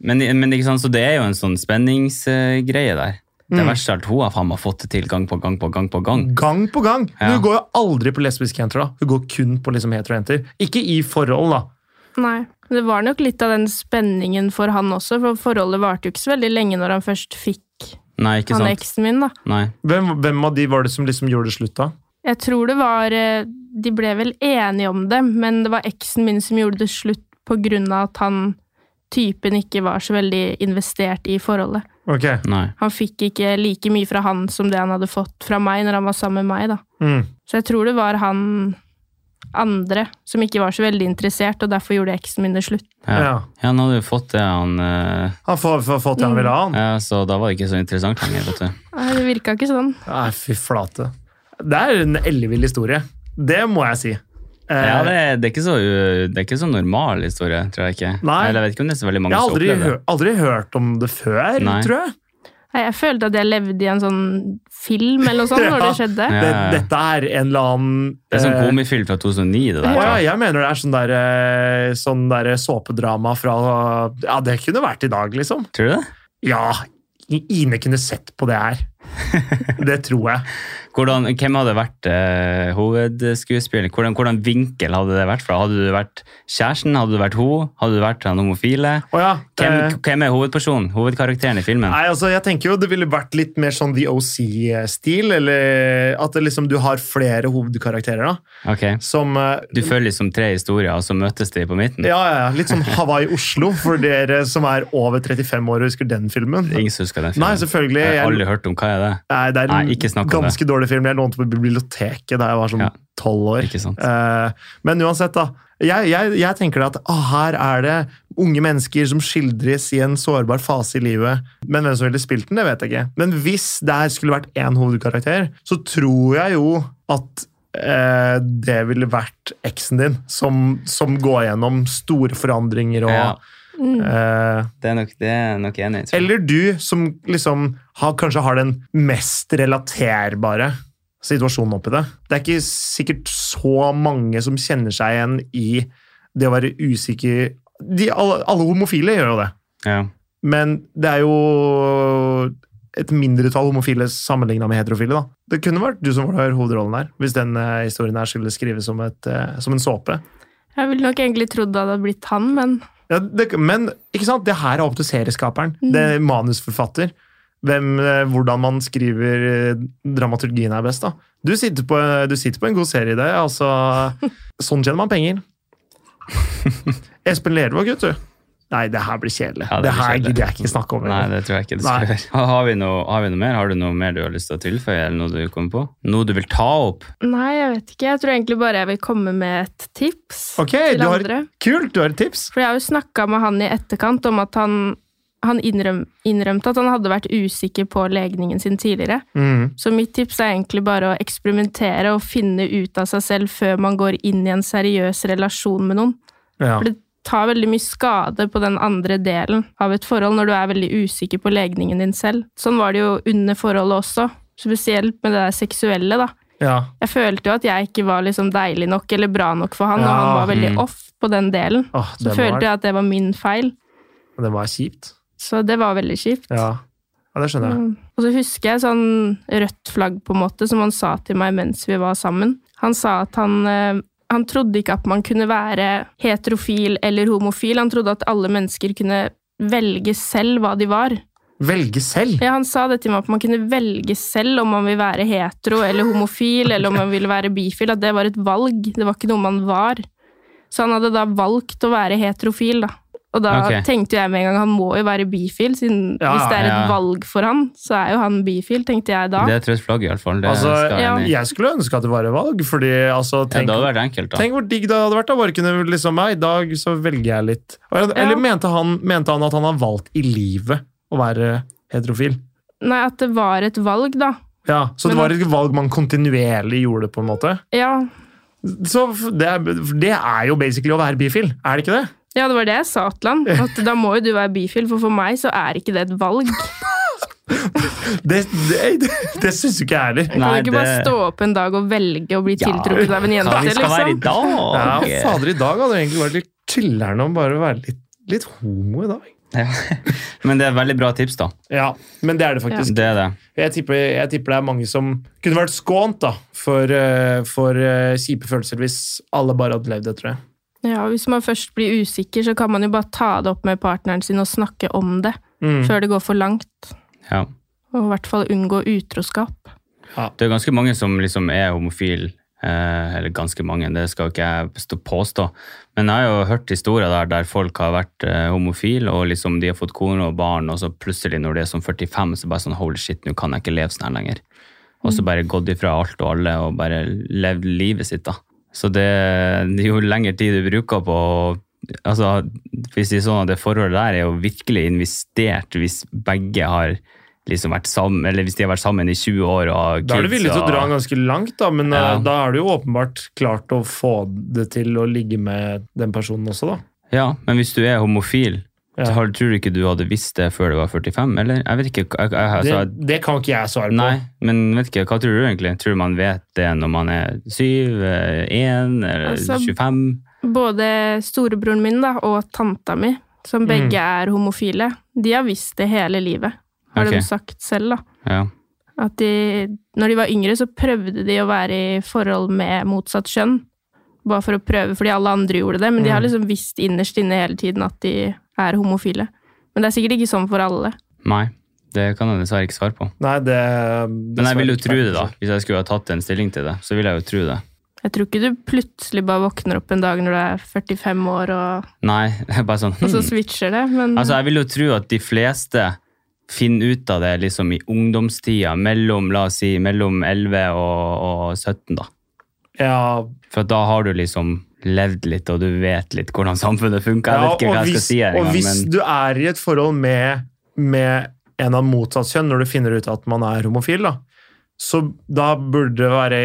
B: Men, men ikke sant, så det er jo en sånn spenningsgreie der. Det
A: Mm.
B: verste er at hun har faen meg fått det til gang på gang på gang på gang.
A: Gang på gang! Men
B: Ja.
A: Hun går jo aldri på lesbiske jenter, da. Hun går kun på liksom hetero-jenter. Ikke i forhold, da.
C: Nei. Det var nok litt av den spenningen for han også, for forholdet varte jo ikke så veldig lenge når han først fikk
B: Nei, ikke
C: han
B: sant?
C: eksen min, da.
B: Nei.
A: Hvem, hvem av de var det som liksom gjorde det slutt, da?
C: Jeg tror det var eh, De ble vel enige om det, men det var eksen min som gjorde det slutt på grunn av at han typen ikke var så veldig investert i forholdet.
A: Ok.
B: Nei.
C: Han fikk ikke like mye fra han som det han hadde fått fra meg når han var sammen med meg, da.
A: Mm.
C: Så jeg tror det var han andre som ikke var så veldig interessert, og derfor gjorde eksen min det slutt.
B: Ja.
A: Ja.
B: Ja, han hadde jo fått det, han eh,
A: Han får, får, får til han vil ha, han.
B: ja, Så da var det ikke så interessant lenger, vet du.
C: Nei, det virka ikke sånn.
A: Nei, fy flate. Det er en ellevill historie. Det må jeg si. Eh,
B: Ja, det, det, er ikke så, uh, det er ikke så normal historie, tror jeg ikke.
A: Nei.
B: Eller jeg vet ikke om det er så veldig
A: jeg
B: mange
A: har
B: som
A: aldri,
B: opplever det.
A: hø- aldri hørt om det før,
B: Nei.
A: tror jeg.
C: Nei, Jeg følte at jeg levde i en sånn film eller noe sånt når Sånn det
A: Ja.
C: skjedde.
B: Ja.
A: Det, dette er en eller annen
B: Det er sånn
A: eh,
B: komifilm fra 2009, det
A: Å
B: der.
A: ja,
B: tror jeg.
A: jeg mener det er sånn der, eh, sånn der såpedrama fra Ja, det kunne vært i dag, liksom.
B: Tror du det?
A: Ja, Ine kunne sett på det her. Det tror jeg.
B: Hvordan, hvem hadde vært eh, hovedskuespiller? Hvordan, hvordan vinkel hadde det vært fra? Hadde du vært kjæresten? Hadde du vært hun? Hadde du vært han homofile?
A: Å ja.
B: Hvem,
A: eh,
B: hvem er hovedpersonen? Hovedkarakteren i filmen?
A: Nei, altså jeg tenker jo Det ville vært litt mer sånn The OC-stil. eller At det liksom du har flere hovedkarakterer. da,
B: Ok.
A: Som eh,
B: Du følger liksom tre historier, og så møtes de på midten?
A: ja, ja, ja, Litt som Hawaii-Oslo, for dere som er over 35 år og husker den filmen.
B: Ingen som husker den filmen.
A: Nei, selvfølgelig.
B: Jeg har
A: Jeg,
B: aldri hørt om hva er det
A: nei, det er en
B: Nei, ikke snakk om
A: ganske dårlig film. Jeg lånte på biblioteket da jeg var sånn
B: Ja.
A: tolv år.
B: Ikke sant?
A: Eh, men uansett, da. Jeg, jeg, jeg tenker at ah, her er det unge mennesker som skildres i en sårbar fase i livet. Men hvem som ville spilt den, det vet jeg ikke. Men hvis det her skulle vært én hovedkarakter, så tror jeg jo at eh, det ville vært eksen din, som, som går gjennom store forandringer og
B: Ja.
C: Mm.
A: eh,
B: Det er nok, det er nok enig i. tror jeg.
A: eller du, som liksom har, kanskje har den mest relaterbare situasjonen oppi det. Det er ikke sikkert så mange som kjenner seg igjen i det å være usikker De, alle, alle homofile gjør jo det,
B: Ja.
A: men det er jo et mindretall homofile sammenligna med heterofile. da. Det kunne vært du som var hovedrollen her, hvis den eh, historien her skulle skrives som, et, eh, som en såpe.
C: Jeg ville nok egentlig trodd det hadde blitt han, men
A: Ja, det, men ikke sant? det her er opp til serieskaperen.
C: Mm.
A: Det er manusforfatter. Hvem, eh, hvordan man skriver eh, dramaturgien er best. da. Du sitter på, du sitter på en god serieidé. Altså, sånn tjener man penger. Espen Lervåg, vet du. Nei, det her blir kjedelig.
B: Ja, det
A: det,
B: blir
A: her
B: kjedelig.
A: gidder jeg ikke snakke om.
B: Nei,
A: engang.
B: det tror jeg ikke du skal
A: Nei.
B: gjøre. Har- Har vi, noe, har vi noe mer? Har du noe mer du har lyst til å tilføye, eller noe du kommer på? Noe du vil ta opp?
C: nei, jeg vet ikke. Jeg tror egentlig bare jeg vil komme med et tips
A: Ok,
C: til
A: du har,
C: andre.
A: Kult, du har et tips.
C: For jeg har jo snakka med han i etterkant om at han, han innrøm, innrømte at han hadde vært usikker på legningen sin tidligere.
A: Mm.
C: Så mitt tips er egentlig bare å eksperimentere og finne ut av seg selv før man går inn i en seriøs relasjon med noen.
A: Ja.
C: For det tar veldig mye skade på den andre delen av et forhold når du er veldig usikker på legningen din selv. Sånn var det jo under forholdet også, spesielt med det der seksuelle, da.
A: Ja.
C: Jeg følte jo at jeg ikke var liksom deilig nok eller bra nok for han, og
A: Ja,
C: han var veldig
B: mm.
C: off på den delen.
A: Åh,
C: Så
A: det,
C: følte
A: var,
C: jeg at det var min feil.
A: det var kjipt.
C: Så det var veldig kjipt.
A: Ja. ja, det skjønner jeg.
C: Mm. Og så husker jeg sånn rødt flagg på en måte, som han sa til meg mens vi var sammen. Han sa at han, eh, han trodde ikke at man kunne være heterofil eller homofil. Han trodde at alle mennesker kunne velge selv hva de var.
A: Velge selv.
C: Ja, han sa det til meg at man kunne velge selv om man vil være hetero eller homofil, eller om man vil være bifil, at det var et valg. Det var ikke noe man var. Så han hadde da valgt å være heterofil, da. Og da
B: Ok.
C: tenkte jeg med en gang han må jo være bifil, siden
A: Ja,
C: hvis det er et
B: ja.
C: valg for han, så er jo han bifil, tenkte jeg da.
B: Det er et rødt flagg, iallfall. Det
A: Altså,
B: skal jeg
C: ja.
B: enig i.
A: Jeg skulle ønske at det var et valg, fordi altså,
B: Ja,
A: tenk
B: det hadde vært enkelt, da.
A: Tenk hvor digg det hadde vært da, bare kunne liksom, «Nei, i dag så velger jeg litt. Eller eller mente, han, mente han at han har valgt i livet å være heterofil?
C: Nei, at det var et valg, da.
A: Ja, Så det
C: Men
A: var et valg man kontinuerlig gjorde, på en måte.
C: Ja,
A: Så f- det, er- det er jo basically å være bifil, er det ikke det?
C: ja det var det jeg sa til han. At da må jo du være bifil, for for meg så er ikke det et valg.
A: Det, det, det, det syns jo ikke jeg heller.
C: Kan
B: Nei,
C: du ikke bare
B: det-
C: stå opp en dag og velge å bli
B: Ja,
C: tiltrukket av en jente,
B: Hva vi skal være i
C: liksom?
B: dag?
A: Ja, fader, i dag hadde det egentlig vært litt chiller'n å bare være litt, litt homo i dag.
B: Ja. Men det er et veldig bra tips, da.
A: Ja, men det er det faktisk.
B: Det er det.
A: Jeg, tipper, jeg tipper det er mange som kunne vært skånt da, for, eh, for eh, kjipe følelser hvis alle bare hadde levd det, tror jeg.
C: Ja, og Hvis man først blir usikker, så kan man jo bare ta det opp med partneren sin og snakke om det
A: Mm.
C: før det går for langt.
B: Ja.
C: Og i hvert fall unngå utroskap.
B: Det er ganske mange som liksom er homofil, eh, eller ganske mange, det skal ikke jeg stå- påstå. Men jeg har jo hørt historier der, der folk har vært eh, homofil, og liksom de har fått kone og barn, og så plutselig når det er sånn 45, så bare sånn holy shit, nå kan jeg ikke leve sånn her lenger. Og
A: Mm.
B: så bare gått ifra alt og alle og bare levd livet sitt, da. Så det jo lengre tid du bruker på å- Altså, hvis det er sånn at det forholdet der er jo virkelig investert hvis begge har liksom vært sammen, eller hvis de har vært sammen i 20 år og har
A: Da er du
B: kids
A: villig til å
B: og-
A: dra ganske langt, da, men eh,
B: Ja.
A: da er du jo åpenbart klart å få det til å ligge med den personen også, da.
B: Ja, men hvis du er homofil,
A: Ja.
B: så har, tror du ikke du hadde visst det før du var 45, eller? Jeg vet ikke. Jeg, jeg,
A: Det,
B: altså,
A: det kan ikke jeg svare på.
B: nei, men vet ikke, hva tror du egentlig? Tror du man vet det når man er 7, 1 eller
C: Altså,
B: 25?
C: Både storebroren min da, og tanta mi, som begge er homofile, de har visst det hele livet, har
B: Ok.
C: de sagt selv. da.
B: Ja.
C: At de, når de var yngre, så prøvde de å være i forhold med motsatt kjønn. Bare for å prøve, fordi alle andre gjorde det. Men de har liksom visst innerst inne hele tiden at de er homofile. Men det er sikkert ikke sånn for alle.
B: Nei, det kan jeg dessverre ikke svare på.
A: Nei, det,
B: Men jeg vil jo tro det, da. Hvis jeg skulle ha tatt en stilling til det, så vil jeg jo tro det.
C: Jeg tror ikke du plutselig bare våkner opp en dag når du er 45 år, og,
B: Nei, det er bare sånn
C: og så
B: hmm.
C: switcher det. Men
B: Altså, jeg vil jo tro at de fleste finner ut av det liksom i ungdomstida, mellom, la oss si, mellom 11 og, og 17, da.
A: Ja,
B: For da har du liksom levd litt, og du vet litt hvordan samfunnet funker. Jeg vet ikke
A: Ja,
B: hva jeg
A: hvis,
B: skal si her
A: Og
B: engang,
A: hvis
B: men
A: du er i et forhold med, med en av motsatt kjønn, når du finner ut at man er homofil, da, så da burde det være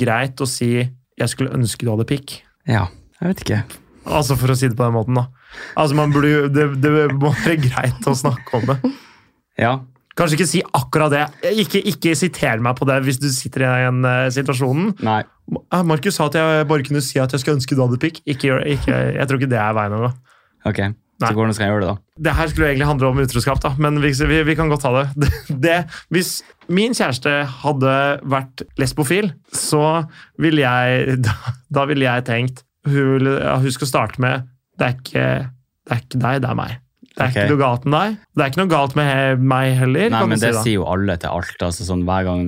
A: greit å si jeg skulle ønske du hadde pikk.
B: ja, jeg vet ikke.
A: Altså for å si det på den måten, da. Altså man burde, jo- det, det må være greit å snakke om det.
B: Ja,
A: Kanskje ikke si akkurat det. Ikke, ikke siter meg på det hvis du sitter i den eh, situasjonen.
B: nei.
A: Ah, Markus sa at jeg bare kunne si at jeg skulle ønske du hadde pikk. Ikke, gjør- ikke, jeg tror ikke det er veien å gå.
B: Ok,
A: Nei.
B: så hvordan skal jeg gjøre det da?
A: Det her skulle jo egentlig handle om utroskap, da, men vi, vi, vi kan godt ta det. det. det. Hvis min kjæreste hadde vært lesbofil, så ville jeg Da, da ville jeg tenkt hun, ville- ja, hun skal starte med det er, ikke, det er ikke deg, det er meg. Det er
B: Ok.
A: ikke noe galt med deg. Det er ikke noe galt med he- meg heller.
B: Nei,
A: kan
B: men
A: du si
B: det
A: da.
B: sier jo alle til alt, altså sånn hver gang.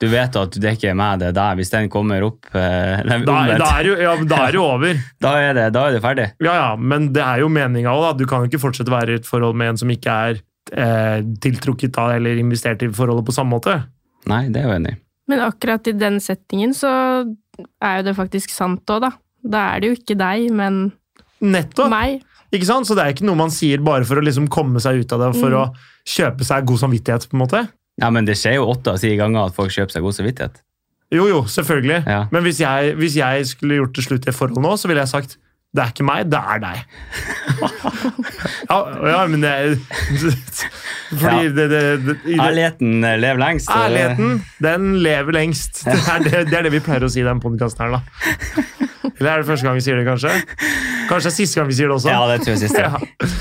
B: Du vet at det ikke er meg, det er deg. Hvis den kommer opp, eh, eller
A: Da, er-
B: omvendt,
A: da, er jo, ja, men da er det jo over.
B: da, er det, da er det ferdig.
A: Ja, ja, men det er jo meninga òg, da. Du kan jo ikke fortsette å være i et forhold med en som ikke er eh, tiltrukket av eller investert i forholdet på samme måte.
B: Nei, det er jo enig. i.
C: Men akkurat i den settingen så er jo det faktisk sant òg, da. Da er det jo ikke deg, men
A: Nettopp!
C: meg.
A: Ikke sant? Så det er ikke noe man sier bare for å liksom komme seg ut av det,
B: Mm.
A: for å kjøpe seg god samvittighet, på en måte.
B: Ja, men det skjer jo åtte av si ganger at folk kjøper seg god samvittighet.
A: Jo, jo, selvfølgelig.
B: Ja.
A: Men hvis jeg, hvis jeg skulle gjort det slutt i et forhold nå, så ville jeg sagt det er ikke meg, det er deg. ja, ja, men det Fordi
B: Ja.
A: det, det, det, i det
B: Ærligheten eh, lever lengst. og det-
A: Ærligheten, den lever lengst. Det er det, det er det vi pleier å si i den podkasten her, da. Eller er det første gang vi sier det, kanskje? Kanskje det er siste gang vi sier det også?
B: Ja, det tror jeg siste.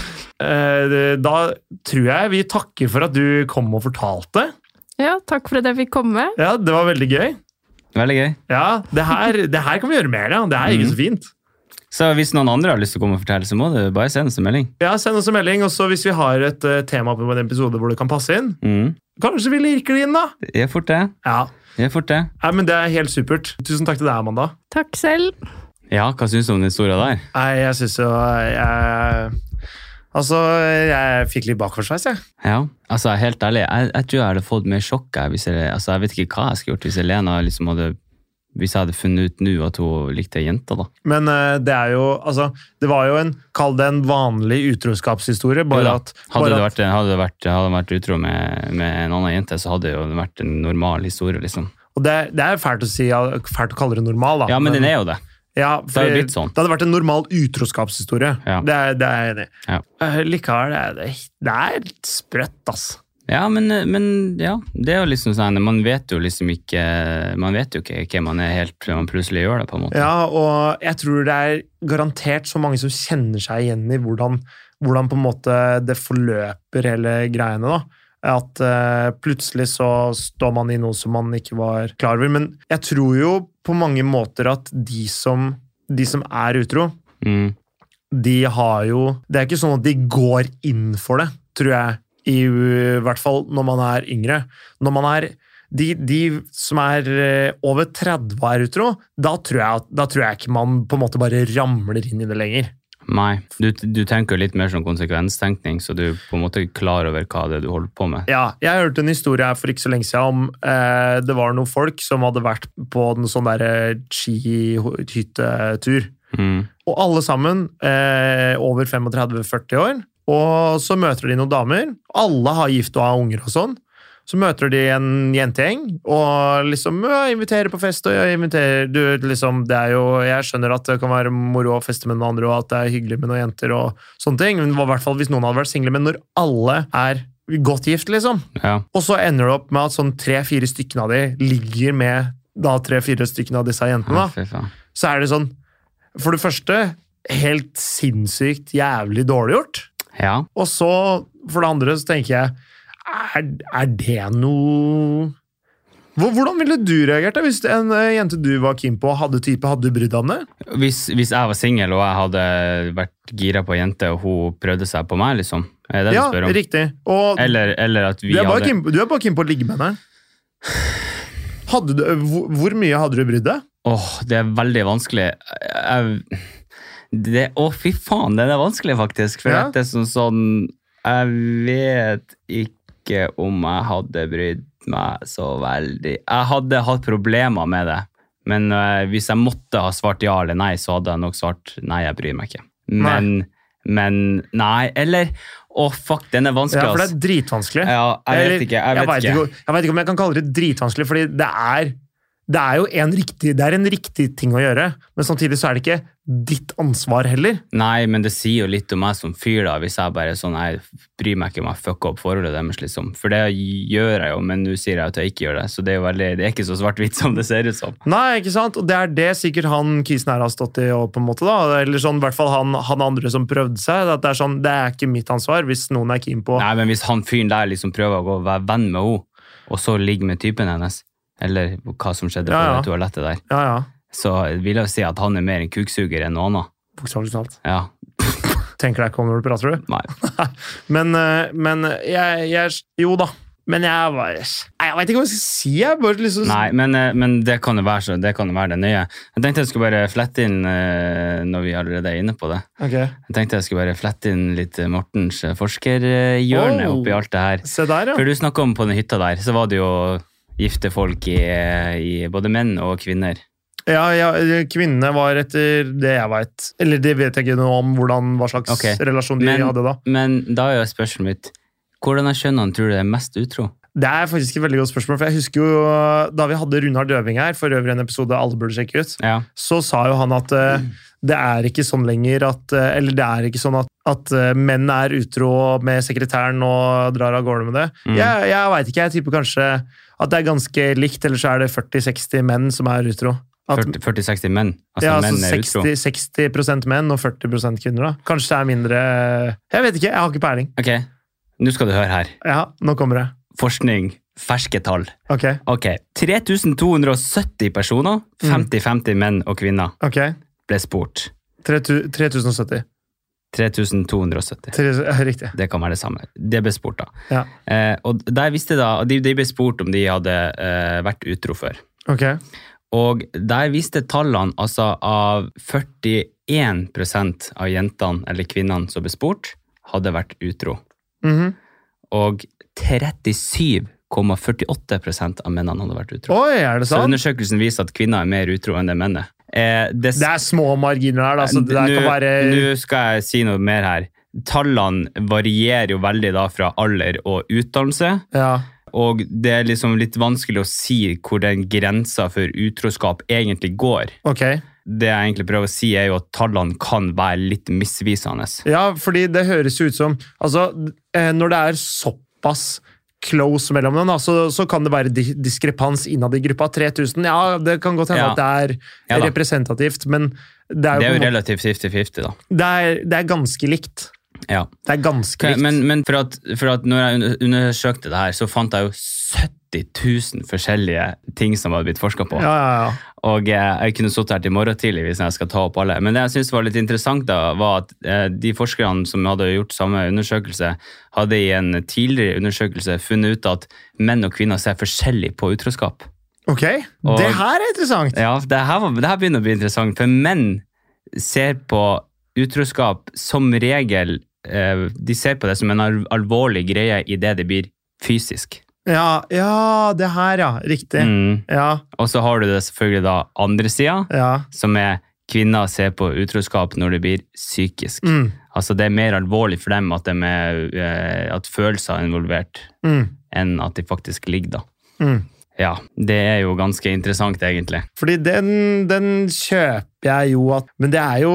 A: Ja. Eh, det- Da tror jeg vi takker for at du kom og fortalte.
C: Ja, takk for at jeg fikk komme.
A: Ja, Det var veldig gøy.
B: Veldig gøy.
A: Ja, Det her, det her kan vi gjøre mer av. Det her er ikke
B: Mm.
A: så fint.
B: Så hvis noen andre har lyst til å komme og fortelle, så må du bare sende oss en melding.
A: Ja, Send oss en melding, og så hvis vi har et eh, tema på en episode hvor det kan passe inn,
B: Mm.
A: kanskje vi lirker det inn, da.
B: Gjør fort det.
A: Ja,
B: Gjør fort det.
A: Nei, men Det er helt supert. Tusen takk til deg, Amanda.
C: Takk selv.
B: Ja, hva syns du om den historia der?
A: Nei, jeg syns jo jeg, Altså, jeg fikk litt bakoversveis, jeg.
B: Ja, altså helt ærlig, jeg, jeg tror jeg hadde fått mer sjokk jeg, hvis jeg, altså, jeg vet ikke hva jeg skulle gjort hvis Elena liksom hadde hvis jeg hadde funnet ut nå at hun likte ei jente, da.
A: Men eh, det er jo Altså, det var jo en Kall det en vanlig utroskapshistorie,
B: Jo da,
A: bare at
B: hadde,
A: bare
B: det
A: at-
B: vært, hadde, det vært, hadde hun vært utro med, med en annen jente, så hadde det jo vært en normal historie, liksom.
A: Og det, det er fælt å, si, ja, fælt å kalle det normal, da.
B: Ja, men den er jo det.
A: Ja,
B: har
A: fordi
B: jo blitt sånn.
A: det hadde vært en normal utroskapshistorie.
B: Ja.
A: Det, er- det er jeg enig i.
B: Ja.
A: Eh, likevel er det, det er litt sprøtt, ass.
B: Ja, men, men ja, det er jo liksom sånn, man vet jo liksom ikke Man vet jo ikke hvem man er helt til man plutselig gjør det, på en måte.
A: Ja, og jeg tror det er garantert så mange som kjenner seg igjen i hvordan, hvordan på en måte det forløper hele greiene, da. At eh, plutselig så står man i noe som man ikke var klar over. Men jeg tror jo på mange måter at de som, de som er utro,
B: Mm.
A: de har jo Det er ikke sånn at de går inn for det, tror jeg. I, u- hvert fall når man er yngre. Når man er de, de som er eh, over 30 og er utro, da tror, jeg, at- da tror jeg ikke man på en måte bare ramler inn i det lenger.
B: Nei. Du, du tenker jo litt mer sånn konsekvenstenkning, så du er på en måte er klar over hva det er du holder på med.
A: Ja, jeg hørte en historie her for ikke så lenge siden om eh, det var noen folk som hadde vært på en sånn derre skihyttetur.
B: Mm.
A: Og alle sammen eh, over 35-40 år. Og så møter de noen damer. Alle har gift og har unger og sånn. Så møter de en jentegjeng og liksom ja, inviterer på fest. og jeg inviterer, du, liksom, det er jo, Jeg skjønner at det kan være moro å feste med noen andre, og at det er hyggelig med noen jenter. og sånne ting, men det var i hvert fall hvis noen hadde vært single, men når alle er godt gift, liksom,
B: Ja.
A: og så ender det opp med at sånn tre-fire stykkene av de ligger med da tre-fire stykkene av disse jentene.
B: Ja,
A: da
B: fy faen.
A: så er det sånn For det første, helt sinnssykt jævlig dårlig gjort.
B: ja.
A: Og så, for det andre, så tenker jeg Er, er det noe Hvor- Hvordan ville du reagert da, hvis en eh, jente du var keen på, hadde type? Hadde du brydd deg om det?
B: Hvis, hvis jeg var singel og jeg hadde vært gira på ei jente, og hun prøvde seg på meg, liksom. Er det det
A: Ja,
B: du spør om?
A: riktig. Og
B: Eller, eller at vi
A: du, er bare
B: hadde
A: keen, du er bare keen på å ligge med henne. Hadde du, hvor, hvor mye hadde du brydd deg?
B: Åh, det er veldig vanskelig. Jeg, det, å, fy faen, den er vanskelig, faktisk. For
A: Ja.
B: at det er sånn, sånn Jeg vet ikke om jeg hadde brydd meg så veldig. Jeg hadde hatt problemer med det. Men eh, hvis jeg måtte ha svart ja eller nei, så hadde jeg nok svart nei, jeg bryr meg ikke. Men nei. Men, nei eller Å, fuck, den er vanskelig,
A: Ja, for det
B: ass.
A: er dritvanskelig.
B: Ja, jeg vet ikke. Jeg vet
A: vet
B: ikke.
A: om- jeg vet ikke om jeg kan kalle det dritvanskelig, fordi det er, det er jo en riktig, det er en riktig ting å gjøre, men samtidig så er det ikke ditt ansvar heller.
B: Nei, men det sier jo litt om meg som fyr, da, hvis jeg bare er sånn Jeg bryr meg ikke om jeg fucker opp forholdet deres, liksom. For det gjør jeg jo, men nå sier jeg at jeg ikke gjør det, så det er jo veldig Det er ikke så svart-hvitt som det ser ut som.
A: Nei, ikke sant? Og det er det sikkert han kisen her har stått i, og på en måte da, eller sånn, i hvert fall han, han andre som prøvde seg, at det er sånn, det er ikke mitt ansvar hvis noen er keen på.
B: Nei, men hvis han fyren der liksom prøver å gå og være venn med henne, og så ligge med typen hennes, eller hva som skjedde på
A: Ja, ja.
B: det toalettet der,
A: Ja, ja,
B: så vil jeg jo si at han er mer en kuksuger enn noe annet.
A: bokstavlig talt.
B: Ja.
A: Tenker deg ikke om når du prater, du.
B: Nei.
A: Men, eh, men jeg, jeg, jo da, men jeg, var- Nei, jeg vet ikke hva jeg skal si, jeg bare liksom...
B: Nei, men, eh, men det kan jo være så, det kan jo være det nye. Jeg tenkte jeg skulle bare flette inn eh, når vi allerede er inne på det.
A: Ok.
B: Jeg tenkte jeg skulle bare flette inn litt eh, Mortens forskerhjørne
A: Oh.
B: oppi alt det her.
A: Se der, ja.
B: Før du snakka om på den hytta der, så var det jo gifte folk i, i både menn og kvinner.
A: Ja, ja, kvinnene var etter det jeg veit. Eller det vet jeg ikke noe om, hvordan, hva slags
B: Ok,
A: relasjon de
B: men-
A: hadde da.
B: Men da er jo spørsmålet mitt hvordan av kjønnene tror du er mest utro?
A: Det er faktisk et veldig godt spørsmål, for jeg husker jo eh, da vi hadde Runar Døving her, for øvrig en episode alle burde sjekke ut,
B: Ja.
A: så sa jo han at eh, det er ikke sånn lenger at eh, Eller det er ikke sånn at, at eh, menn er utro med sekretæren og drar av gårde med det.
B: Mm.
A: Jeg, jeg veit ikke, jeg tipper kanskje at det er ganske likt, eller så er det 40-60 menn som er utro. At
B: 40 40-60 menn. Altså
A: ja,
B: menn er
A: altså
B: utro.
A: 60, 60 menn og 40 kvinner. da. Kanskje det er mindre Jeg vet ikke, jeg har ikke peiling.
B: Ok, nå skal du høre her.
A: Ja, Nå kommer det.
B: Forskning, ferske tall.
A: Ok,
B: Ok, 3270 personer,
A: Mm.
B: 50-50 menn og kvinner,
A: ok.
B: ble spurt.
A: 3000 3070.
B: 3270.
A: Tre- ja, Riktig.
B: Det kan være det samme. Det ble spurt, da.
A: Ja.
B: Eh, og der visste da, de, de ble spurt om de hadde eh, vært utro før.
A: Ok.
B: Og der viste tallene altså av 41 av jentene eller kvinnene som ble spurt, hadde vært utro.
A: Mhm.
B: Og 37,48 av mennene hadde vært utro.
A: Oi, er det
B: Så
A: sant?
B: undersøkelsen viser at kvinner er mer utro enn det menn er. Eh, det
A: Det er små marginer her, da, så det der kan
B: Nå-
A: være
B: Nå skal jeg si noe mer her. Tallene varierer jo veldig da fra alder og utdannelse,
A: Ja.
B: og det er liksom litt vanskelig å si hvor den grensa for utroskap egentlig går.
A: Ok.
B: Det jeg egentlig prøver å si, er jo at tallene kan være litt misvisende.
A: Ja, fordi det høres jo ut som Altså, eh, når det er såpass close mellom dem, da, så, så kan det være di diskrepans innad i gruppa. 3000, ja, det kan godt hende
B: Ja.
A: at det er
B: Ja da.
A: representativt, men det er
B: Det
A: jo, på
B: er
A: en
B: jo
A: måte-
B: relativt 50-50, da.
A: det er, det er ganske likt.
B: Ja.
A: Det er ganske
B: Ok,
A: vilt.
B: Men, men for, at, for at når jeg under- undersøkte det her, så fant jeg jo 70 000 forskjellige ting som hadde blitt forska på.
A: ja, ja, ja.
B: Og eh, jeg kunne sittet her til i morgen tidlig hvis jeg skal ta opp alle. Men det jeg syntes var litt interessant, da, var at eh, de forskerne som hadde gjort samme undersøkelse, hadde i en tidligere undersøkelse funnet ut at menn og kvinner ser forskjellig på utroskap.
A: Ok,
B: Og-
A: det her er interessant.
B: Ja, det her, var, det her begynner å bli interessant, for menn ser på utroskap som regel eh, De ser på det som en al- alvorlig greie idet det blir fysisk.
A: Ja, ja, det her, ja. Riktig.
B: Mm.
A: Ja,
B: Og så har du det selvfølgelig da andre sida,
A: ja.
B: som er kvinner ser på utroskap når det blir psykisk.
A: Mm,
B: Altså Det er mer alvorlig for dem at, de er, eh, at følelser er involvert,
A: mm,
B: enn at de faktisk ligger da.
A: mm.
B: Ja, det er jo ganske interessant, egentlig.
A: Fordi den, den kjøper jeg jo at Men det er jo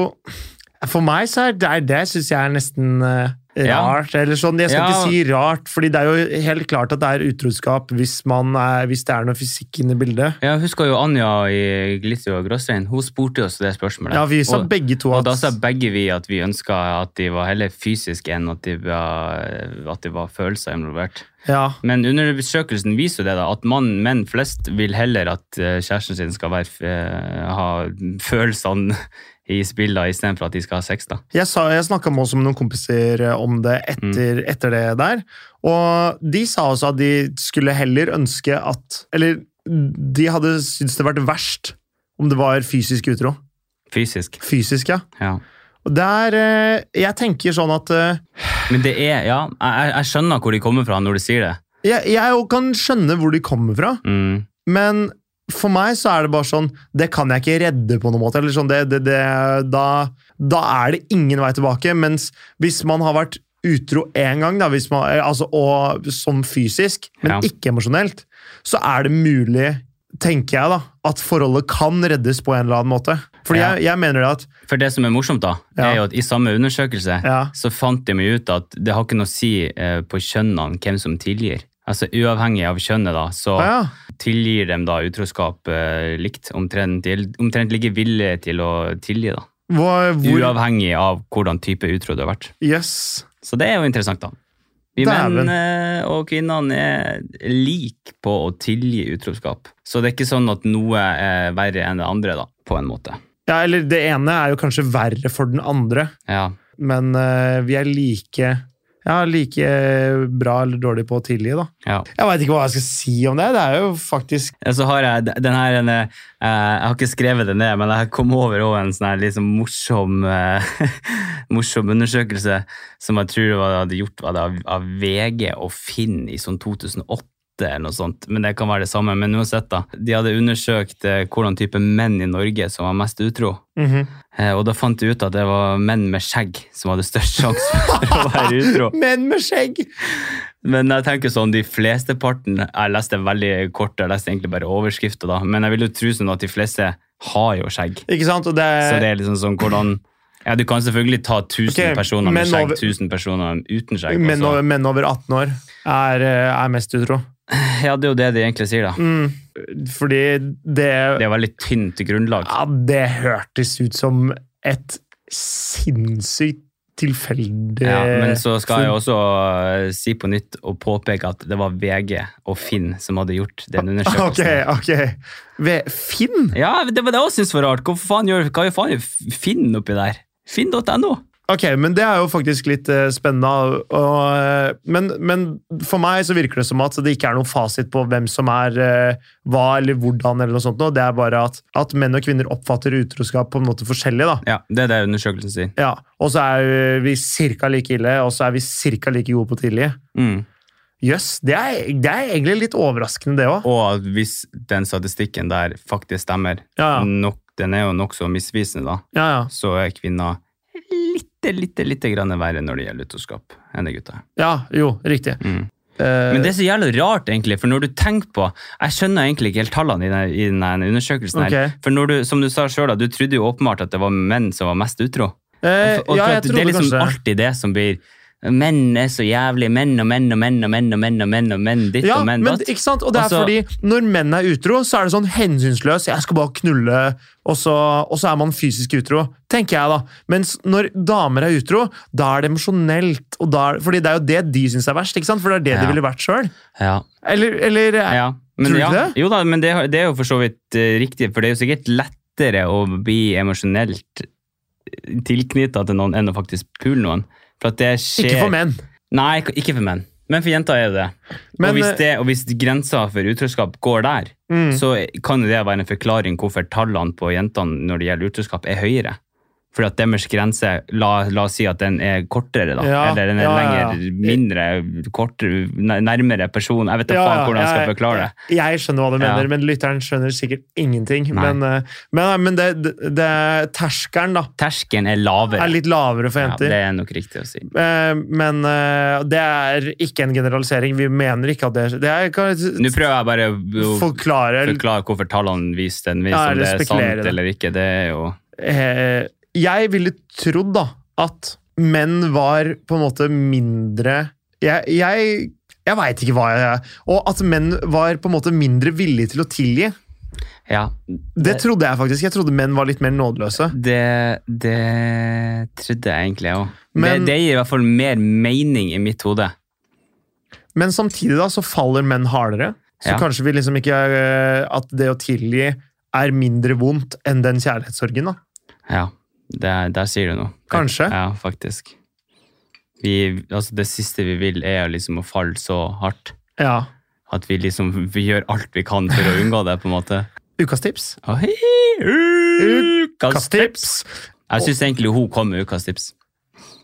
A: For meg så er det det syns jeg er nesten eh,
B: Ja.
A: rart. Eller sånn, Jeg skal
B: Ja.
A: ikke si rart, fordi det er jo helt klart at det er utroskap hvis, man er, hvis det er noe fysikk inne i bildet.
B: Jeg husker jo Anja i Glitter og Gråstein. Hun spurte oss det spørsmålet.
A: Ja, vi sa
B: og,
A: begge to
B: og
A: at
B: da sa begge vi at vi ønska at de var heller fysiske enn at de var, at de var følelser involvert.
A: ja,
B: Men undersøkelsen viser jo det da, at mann, menn flest vil heller at eh, kjæresten sin skal være, f- eh, ha følelsene i spillet istedenfor at de skal ha sex. da.
A: Jeg, sa- jeg snakka med oss med noen kompiser eh, om det etter, etter det der. Og de sa også at de skulle heller ønske at Eller de hadde syntes det vært verst om det var fysisk utro.
B: Fysisk.
A: Fysisk, ja.
B: ja.
A: Og der eh, Jeg tenker sånn at eh,
B: Men det er, ja, jeg, jeg- jeg skjønner hvor de kommer fra når de sier det.
A: jeg, jeg jo kan skjønne hvor de kommer fra,
B: Mm.
A: men for meg så er det bare sånn Det kan jeg ikke redde på noen måte. eller sånn, det, det, det, da, da er det ingen vei tilbake. Mens hvis man har vært utro én gang, da, hvis man, eh, altså, og sånn fysisk, men
B: Ja.
A: ikke emosjonelt, så er det mulig, tenker jeg, da, at forholdet kan reddes på en eller annen måte. Fordi
B: Ja.
A: jeg, jeg mener det at
B: For det som er morsomt, da,
A: Ja.
B: er jo at i samme undersøkelse
A: ja,
B: så fant de jo ut at det har ikke noe å si eh, på kjønnene hvem som tilgir. Altså Uavhengig av kjønnet, da, så
A: ja,
B: tilgir de da utroskap eh, likt. Omtrent, til- omtrent like villige til å tilgi, da.
A: hvor, hvor
B: Uavhengig av hvordan type utro du har vært.
A: Yes.
B: Så det er jo interessant, da. Vi
A: Dæven.
B: menn eh, og kvinnene er like på å tilgi utroskap. Så det er ikke sånn at noe er verre enn det andre, da, på en måte.
A: Ja, eller det ene er jo kanskje verre for den andre,
B: Ja.
A: men eh, vi er like ja, like eh, bra eller dårlig på å tilgi, da.
B: ja.
A: Jeg veit ikke hva jeg skal si om det. Det er jo faktisk
B: Ja, Eh, Så har jeg den her en, eh, Jeg har ikke skrevet det ned, men jeg kom over også en sånn her liksom morsom, eh, morsom undersøkelse som jeg tror var, hadde gjort var det av, av VG og Finn i sånn 2008 eller noe sånt. Men det kan være det samme. Men uansett, da. De hadde undersøkt eh, hvordan type menn i Norge som var mest utro.
A: mhm.
B: Eh, Og da fant de ut at det var menn med skjegg som hadde størst sjanse for å være utro.
A: Menn med skjegg!
B: Men jeg tenker sånn, de fleste parten, jeg leste veldig kort, jeg leste egentlig bare overskrifter da, men jeg vil jo tro sånn at de fleste har jo skjegg.
A: Ikke sant? Og det,
B: Så det er liksom sånn hvordan, ja du kan selvfølgelig ta tusen
A: Eh, Ok,
B: personer
A: men
B: med skjegg,
A: over-
B: tusen personer uten skjegg.
A: menn,
B: altså.
A: over, menn over 18 år er, eh, er mest utro.
B: Ja, det er jo det de egentlig sier da.
A: Mm. Fordi det
B: Det er veldig tynt grunnlag.
A: Ja, det hørtes ut som et sinnssykt tilfeldig
B: Ja, men så skal jeg også eh, si på nytt og påpeke at det var VG og Finn som hadde gjort den undersøkelsen.
A: Ah, Ok, ok. Ved Finn?
B: Ja, det var det jeg også synes var rart. Hvorfor faen gjør, hva gjør faen gjør Finn oppi der? Finn.no?
A: Ok, men det er jo faktisk litt eh, spennende. Og, eh, men, men for meg så virker det som at det ikke er noen fasit på hvem som er eh, hva eller hvordan. eller noe sånt. nå. Det er bare at, at menn og kvinner oppfatter utroskap på en måte forskjellig. da.
B: Ja, det er det undersøkelsen sier.
A: Ja, Og så er vi cirka like ille, og så er vi cirka like gode på tidlig.
B: Mm.
A: Jøss, det, er- det er egentlig litt overraskende, det òg.
B: Og at hvis den statistikken der faktisk stemmer,
A: Ja, ja.
B: nok, den er jo nokså misvisende, da,
A: Ja, ja.
B: så er kvinner lite, lite, lite grann verre når det gjelder utroskap enn det gutta er.
A: ja, jo, riktig.
B: Mm.
A: Eh,
B: Men det er så jævlig rart, egentlig, for når du tenker på Jeg skjønner egentlig ikke helt tallene i den, i den undersøkelsen her.
A: Ok.
B: For når du, som du sa sjøl, du trodde jo åpenbart at det var menn som var mest utro.
A: eh,
B: Og for at
A: ja, jeg
B: det er
A: trodde
B: liksom
A: kanskje det.
B: alltid det som blir Menn er så jævlig. Menn og menn og menn og menn og menn og menn og menn ditt
A: Ja,
B: og menn
A: men,
B: datt.
A: ikke sant? Og det er
B: Altså-
A: fordi når menn er utro, så er det sånn hensynsløs. Jeg skal bare knulle, og så, og så er man fysisk utro, tenker jeg da. Mens når damer er utro, da er det emosjonelt. og da er- Fordi det er jo det de syns er verst, ikke sant? for det er det
B: Ja.
A: de ville vært sjøl.
B: Ja,
A: Eller, eller eh,
B: ja. Men,
A: Tror du
B: ja.
A: det?
B: Jo da, men det, det er jo for så vidt eh, riktig, for det er jo sikkert lettere å bli emosjonelt tilknytta til noen enn å faktisk pule noen. For at det skjer
A: ikke for menn.
B: Nei, k- ikke for menn. Men for jenter er det det.
A: Men,
B: og, hvis
A: eh,
B: det og hvis grensa for utroskap går der,
A: Mm.
B: så kan jo det være en forklaring hvorfor tallene på jentene når det gjelder utroskap, er høyere. Fordi at deres grense, la, la oss si at den er kortere, da.
A: Ja,
B: Eller den er
A: ja, ja, ja.
B: lenger, mindre, kortere, nær- nærmere person. Jeg vet da
A: Ja,
B: faen
A: ja,
B: hvordan jeg skal
A: jeg-
B: forklare det.
A: Jeg skjønner hva du
B: Ja.
A: mener, men lytteren skjønner sikkert ingenting.
B: Nei.
A: Men, eh, men, men det, det, det terskelen da,
B: Terskelen er
A: er
B: lavere.
A: litt lavere for
B: Ja,
A: jenter.
B: det er nok riktig å si.
A: Eh, Men eh, det er ikke en generalisering. Vi mener ikke at det Det er kan
B: Nå prøver jeg bare å
A: forklare
B: forklare hvorfor tallene viser den, hvis
A: Ja,
B: om
A: eller
B: det er
A: spekulere
B: sant
A: det.
B: eller ikke. Det er jo
A: eh, Jeg ville trodd da at menn var på en måte mindre Jeg, jeg, jeg veit ikke hva jeg er. Og at menn var på en måte mindre villige til å tilgi.
B: Ja,
A: Det trodde jeg faktisk. Jeg trodde menn var litt mer nådeløse.
B: Det, det trodde jeg egentlig òg. Det,
A: Men-
B: det gir i hvert fall mer mening i mitt hode.
A: Men samtidig da, så faller menn hardere. Så
B: Ja.
A: kanskje vi liksom ikke eh, At det å tilgi er mindre vondt enn den kjærlighetssorgen, da.
B: Ja, det, der sier du noe.
A: Kanskje.
B: Ja, faktisk. Vi, altså det siste vi vil, er jo liksom å falle så hardt
A: Ja.
B: at vi liksom vi gjør alt vi kan for å unngå det, på en måte.
A: Ukas tips.
B: Oi,
A: Ukas
B: ukas tips!
A: tips.
B: Jeg syns egentlig hun kom med ukas tips.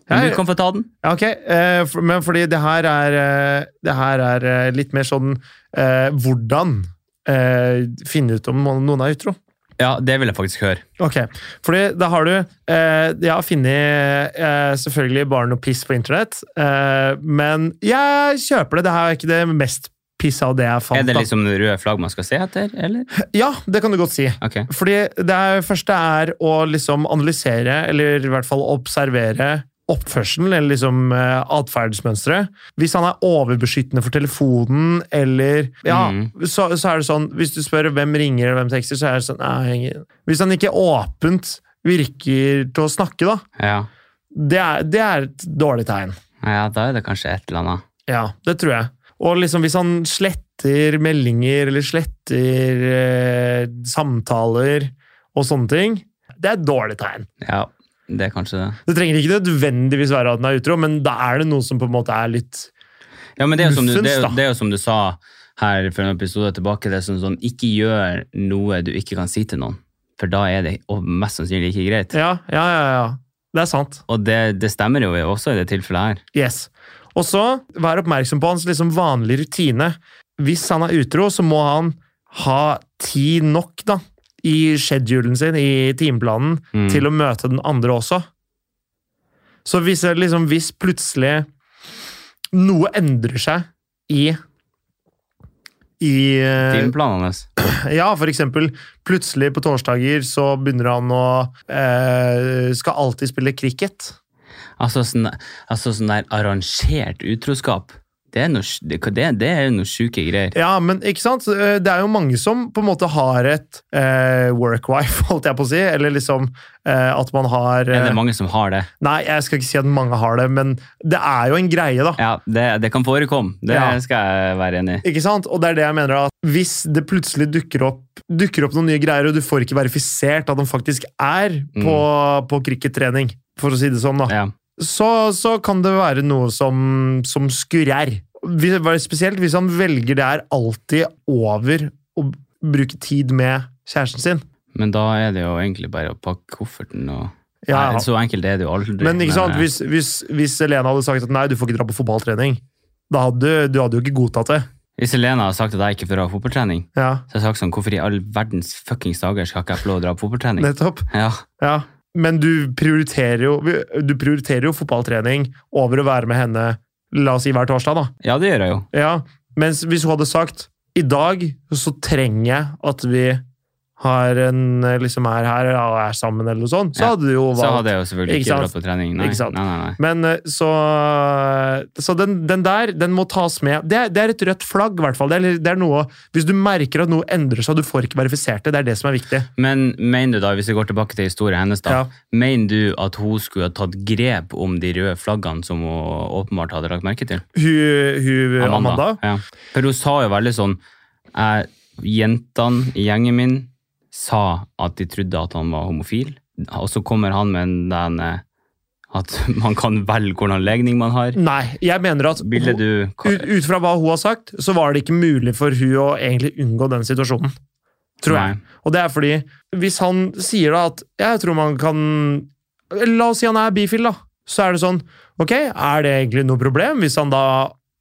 A: Ja,
B: Men
A: ja.
B: du kan få ta den.
A: Ja, ok. eh, for- Men fordi det her er, eh, det her er eh, litt mer sånn eh, Hvordan eh, finne ut om noen er utro?
B: Ja, det vil jeg faktisk høre.
A: Ok, fordi da har du eh, Jeg har funnet eh, selvfølgelig bare noe piss på internett, eh, men jeg kjøper det. Det her er ikke det mest pissa av det jeg fant.
B: Er det
A: da.
B: liksom det røde flagg man skal se etter, eller?
A: Ja, det kan du godt si.
B: Ok.
A: Fordi det er, første er å liksom analysere, eller i hvert fall observere, oppførselen, eller liksom eh, atferdsmønsteret. Hvis han er overbeskyttende for telefonen, eller Ja,
B: Mm.
A: så, så er det sånn Hvis du spør hvem ringer eller hvem tekster, så er det sånn Nei, jeg henger ikke». Hvis han ikke åpent virker til å snakke, da,
B: Ja.
A: det er, det er et dårlig tegn.
B: ja, da er det kanskje et eller annet.
A: Ja, det tror jeg. Og liksom hvis han sletter meldinger eller sletter eh, samtaler og sånne ting, det er et dårlig tegn.
B: Ja, det er kanskje det.
A: Det trenger ikke nødvendigvis være at den er utro, men da er det noe som på en måte er litt
B: Ja, men det er jo som du,
A: Muffens,
B: det er, jo-
A: da.
B: det er jo som du sa her for en episode tilbake, det er sånn, sånn ikke gjør noe du ikke kan si til noen, for da er det og mest sannsynlig ikke greit.
A: Ja, ja, ja. ja. Det er sant.
B: Og det, det stemmer jo også i det tilfellet her.
A: Yes. Og så, vær oppmerksom på hans liksom vanlige rutine. Hvis han er utro, så må han ha tid nok, da, i schedulen sin, i timeplanen,
B: Mm.
A: til å møte den andre også. Så hvis, det liksom, hvis plutselig noe endrer seg i i eh,
B: Timeplanen hans.
A: Ja, for eksempel plutselig på torsdager så begynner han å eh, Skal alltid spille cricket.
B: Altså sånn, altså sånn der arrangert utroskap. Det er noe, sj- det, det, det er noe sjuke greier.
A: Ja, men ikke sant? Eh, Det er jo mange som på en måte har et eh, work-wife, holdt jeg på å si. Eller liksom eh, at man har
B: Er
A: eh,
B: det mange som har det?
A: Nei, jeg skal ikke si at mange har det, men det er jo en greie, da.
B: Ja, det, det kan forekomme. Det
A: Ja.
B: skal jeg være enig i.
A: Ikke sant? Og det er det jeg mener at hvis det plutselig dukker opp, dukker opp noen nye greier, og du får ikke verifisert at han faktisk er på, på crickettrening, for å si det sånn, da,
B: Mm. Ja.
A: så, så kan det være noe som, som skurrer. Vi- Spesielt hvis han velger det her alltid over å bruke tid med kjæresten sin.
B: Men da er det jo egentlig bare å pakke kofferten og
A: Ja,
B: Nei,
A: ja.
B: Så enkelt er det jo aldri.
A: Men ikke sant?
B: eh,
A: Hvis, hvis, hvis Elena hadde sagt at nei, du får ikke dra på fotballtrening, da hadde du- du hadde jo ikke godtatt det.
B: Hvis Elena har sagt at jeg ikke får ha fotballtrening,
A: Ja,
B: så har jeg sagt sånn, hvorfor i all verdens fuckings dager skal ikke jeg få lov å dra på fotballtrening?
A: nettopp.
B: Ja,
A: Ja, men du prioriterer jo, du prioriterer jo fotballtrening over å være med henne, la oss si hver torsdag, da.
B: ja, det gjør jeg jo.
A: Ja, mens hvis hun hadde sagt i dag så trenger jeg at vi har en, eh, liksom er her og er sammen, eller noe sånt, så
B: Ja.
A: hadde du jo
B: Så
A: valgt
B: hadde jeg jo selvfølgelig
A: Ikke
B: ikke
A: sant?
B: dratt på trening. Nei,
A: Ikke sant?
B: nei, nei, nei.
A: Men eh, så eh, Så den, den der, den må tas med. Det er, det er et rødt flagg, i hvert fall. Det er, det er noe, hvis du merker at noe endrer seg, og du får ikke verifisert det, det er det som er viktig.
B: Men mener du da, hvis vi går tilbake til historien hennes, da,
A: Ja.
B: mener du at hun skulle ha tatt grep om de røde flaggene som hun åpenbart hadde lagt merke til?
A: Hun, hun Amanda.
B: Ja. For hun sa jo veldig sånn jeg, Jentene i gjengen min sa at de trodde at han var homofil, og så kommer han med den eh, at man kan velge hvordan legning man har.
A: Nei, jeg mener at
B: Ville du
A: ut, ut fra hva hun har sagt, så var det ikke mulig for hun å egentlig unngå den situasjonen. Tror jeg. Og det er fordi hvis han sier da at jeg tror man kan La oss si han er bifil, da. Så er det sånn Ok, er det egentlig noe problem hvis han da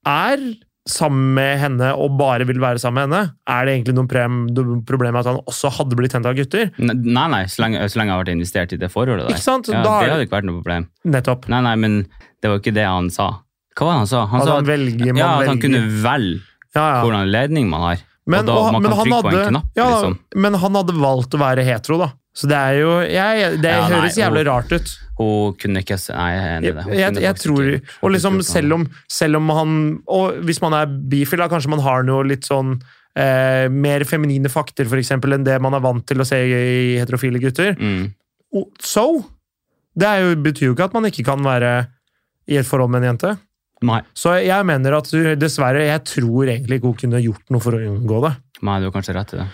A: er sammen med henne og bare vil være sammen med henne? Er det egentlig noe prem- noe problem at han også hadde blitt tent av gutter?
B: Nei, nei, nei så, lenge, så lenge jeg har vært investert i det forholdet der.
A: Ikke sant?
B: Ja,
A: da
B: det
A: er
B: hadde ikke vært noe problem.
A: Nettopp.
B: Nei, nei, men det var ikke det han sa. Hva var det han sa? Han
A: At
B: sa
A: han
B: at,
A: velger, man
B: ja, at han
A: velger.
B: kunne velge
A: ja, ja.
B: hvordan ledning man har.
A: Men,
B: og da
A: og,
B: man
A: men,
B: kan
A: han
B: trykke
A: hadde,
B: på en knapp,
A: ja, da,
B: liksom.
A: men han hadde valgt å være hetero, da. Så det er jo jeg, Det
B: Ja, nei,
A: høres jævlig rart ut.
B: Hun kunne ikke se- Nei, jeg er enig i
A: Jeg,
B: det. Hun
A: jeg,
B: kunne
A: jeg
B: faktisk
A: tror,
B: ikke-
A: og liksom
B: ikke gjort
A: selv
B: noe.
A: om, selv om han Og hvis man er bifil, da kanskje man har noe litt sånn eh, mer feminine fakter for eksempel, enn det man er vant til å se i heterofile gutter.
B: mm.
A: Og- So! Det er jo, betyr jo ikke at man ikke kan være i et forhold med en jente.
B: Nei,
A: Så jeg mener at du- dessverre, jeg tror egentlig ikke hun kunne gjort noe for å unngå det.
B: nei, du har kanskje rett i det.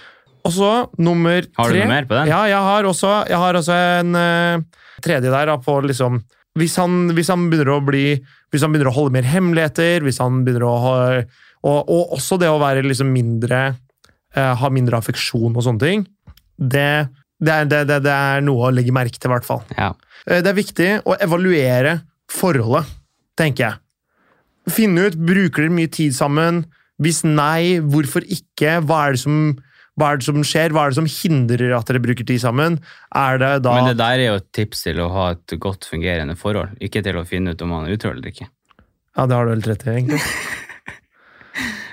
A: Og så nummer tre
B: Har du noe mer på den?
A: Ja, jeg har også, jeg har også en eh, tredje der da, på liksom hvis han, hvis han begynner å bli Hvis han begynner å holde mer hemmeligheter, hvis han begynner å ha Og, og også det å være liksom mindre eh, Ha mindre affeksjon og sånne ting. Det, det, er, det, det, det er noe å legge merke til, i hvert fall.
B: Ja.
A: Eh, Det er viktig å evaluere forholdet, tenker jeg. Finne ut bruker dere mye tid sammen. Hvis nei, hvorfor ikke? Hva er det som, hva er det som skjer? Hva er det som hindrer at dere bruker tid sammen? Er det da
B: Men det der er jo et tips til å ha et godt fungerende forhold, ikke til å finne ut om man er utro eller ikke.
A: Ja, det har du helt rett i, egentlig.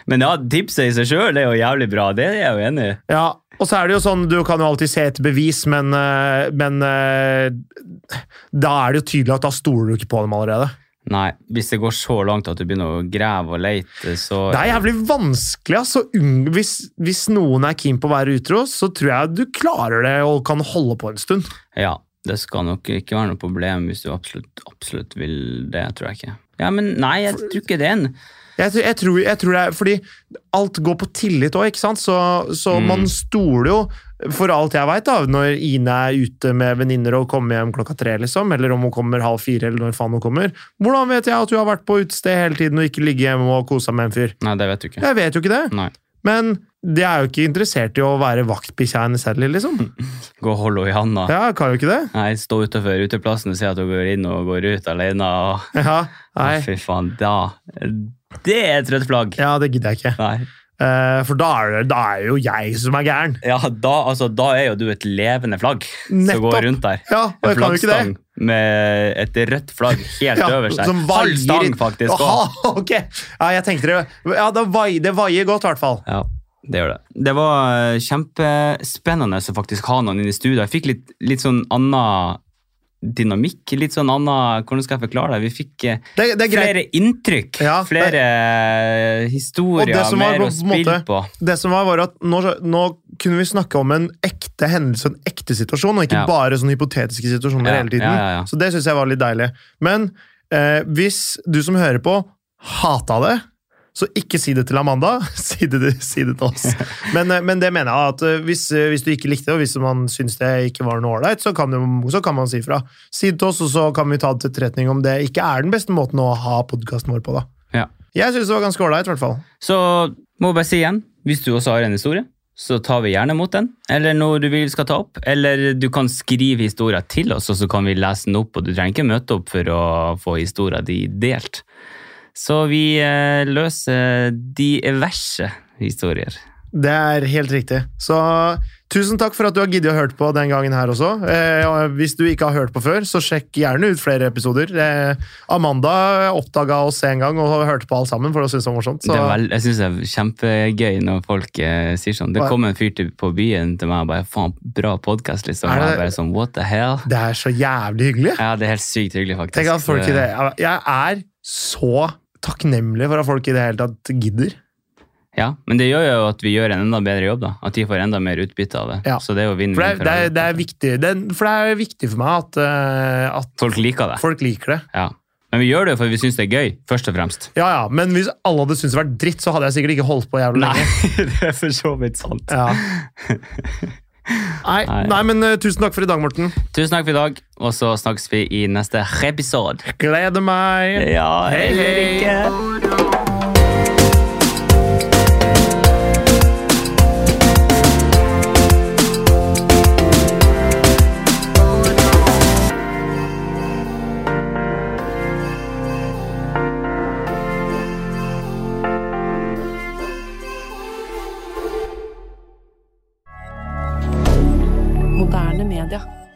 B: Men ja, tipset i seg sjøl er jo jævlig bra, det er jeg jo enig i.
A: Ja, og så er det jo sånn, du kan jo alltid se etter bevis, men, eh, men eh, da er det jo tydelig at da stoler du ikke på dem allerede.
B: Nei, hvis det går så langt at du begynner å grave og leite, så
A: Det er jævlig vanskelig. Altså, unng- hvis, hvis noen er keen på å være utro, så tror jeg du klarer det og kan holde på en stund.
B: Ja, det skal nok ikke være noe problem hvis du absolutt, absolutt vil det, tror jeg ikke. Ja, men nei, jeg tror ikke det er en
A: Jeg, tror- jeg, tror, jeg tror det er Fordi alt går på tillit òg, ikke sant? Så, så
B: Mm.
A: man stoler jo, for alt jeg veit, når Ine er ute med venninner og kommer hjem klokka tre, liksom, eller om hun kommer halv fire, eller når faen hun kommer Hvordan vet jeg at hun har vært på utested hele tiden og ikke ligget hjemme og kosa med en fyr?
B: Nei, det vet du ikke.
A: Jeg vet jo ikke det.
B: Nei.
A: Men det er jo ikke interessert i å være vaktbikkja hennes heller, liksom.
B: Gå og hold henne i handa.
A: Ja, jeg kan jo ikke det.
B: Nei, stå utenfor uteplassen og se at hun går inn og går ut alene. Og...
A: Ja, nei.
B: Fy faen, da Det er et rødt flagg!
A: Ja, det gidder jeg ikke.
B: Nei.
A: Eh, for da er, det, da er det jo jeg som er gæren.
B: Ja, da, altså, da er jo du et levende flagg som
A: Nettopp.
B: går rundt der.
A: Ja, og
B: En
A: jeg kan jo ikke det.
B: flaggstang med et rødt flagg helt
A: Ja,
B: øverst der.
A: som vaier-
B: Halv stang, faktisk. også.
A: Aha, ok. Ja, jeg tenkte det. Ja, det vaier, det vaier godt, i hvert fall.
B: Ja, det gjør det. Det var eh, kjempespennende å faktisk ha noen inn i studio. Jeg fikk litt, litt sånn annen dynamikk. Litt sånn annen Hvordan skal jeg forklare det? Vi fikk eh,
A: Det, det er greit.
B: flere inntrykk,
A: Ja, det-
B: flere eh,
A: Og det
B: historier,
A: som var
B: mer
A: på-
B: å
A: på en
B: spille
A: måte-
B: på.
A: Det som var, var at nå, nå kunne vi snakke om en ekte hendelse, en ekte situasjon, og ikke
B: Ja.
A: bare sånne hypotetiske situasjoner
B: Ja,
A: hele tiden.
B: ja, ja, ja.
A: Så det syns jeg var litt deilig. Men eh, hvis du som hører på, hata det, så ikke si det til Amanda. Si det, si det til oss. Men, eh, men det mener jeg at eh, hvis, eh, hvis du ikke likte det, og hvis man syns det ikke var noe ålreit, så, kan du- så kan man si fra. Si det til oss, og så kan vi ta det til etterretning om det ikke er den beste måten å ha podkasten vår på, da.
B: Ja.
A: Jeg syns det var ganske ålreit, i hvert fall.
B: Så må jeg bare si igjen, hvis du også har en historie, så tar vi gjerne imot den. Eller noe du vil vi skal ta opp. Eller du kan skrive historier til oss, og så kan vi lese den opp. Og du trenger ikke møte opp for å få historia di delt. Så vi eh, løser diverse historier.
A: Det er helt riktig. Så Tusen takk for at du har giddet å hørt på den gangen her også. Eh, og hvis du ikke har hørt på før, så sjekk gjerne ut flere episoder. Eh, Amanda oppdaga oss en gang og hørte på alt sammen, for å synes det var morsomt. Så.
B: Det er vel, jeg syns det er kjempegøy når folk eh, sier sånn. Det
A: Hva-
B: kom en fyr til, på byen til meg og bare 'faen, bra podkast', liksom. Og
A: Er
B: jeg
A: det-
B: bare sånn 'what the hell'?
A: Det er så jævlig hyggelig.
B: Ja, det er helt sykt hyggelig, faktisk.
A: Tenk at folk i
B: Så-
A: det Jeg er så takknemlig for at folk i det hele tatt gidder.
B: Ja, men det gjør jo at vi gjør en enda bedre jobb, da. At de får enda mer utbytte av det.
A: Ja.
B: Så det er jo vinn-vinn.
A: For det er,
B: for
A: det er,
B: alle.
A: det er, viktig, det er, for det er viktig for meg at, eh, at
B: Folk liker det.
A: folk liker det.
B: Ja. Men vi gjør det jo fordi vi syns det er gøy, først og fremst.
A: Ja, ja, Men hvis alle hadde syntes det var dritt, så hadde jeg sikkert ikke holdt på jævlig
B: Nei,
A: lenge.
B: det er for så vidt sant.
A: Ja. Nei,
B: Nei.
A: nei, men eh, tusen takk for i dag, Morten.
B: Tusen takk for i dag, og så snakkes vi i neste episode.
A: Gleder meg!
B: Ja,
A: Hei,
B: eller
A: hei.
B: ikke.
D: Moderne media.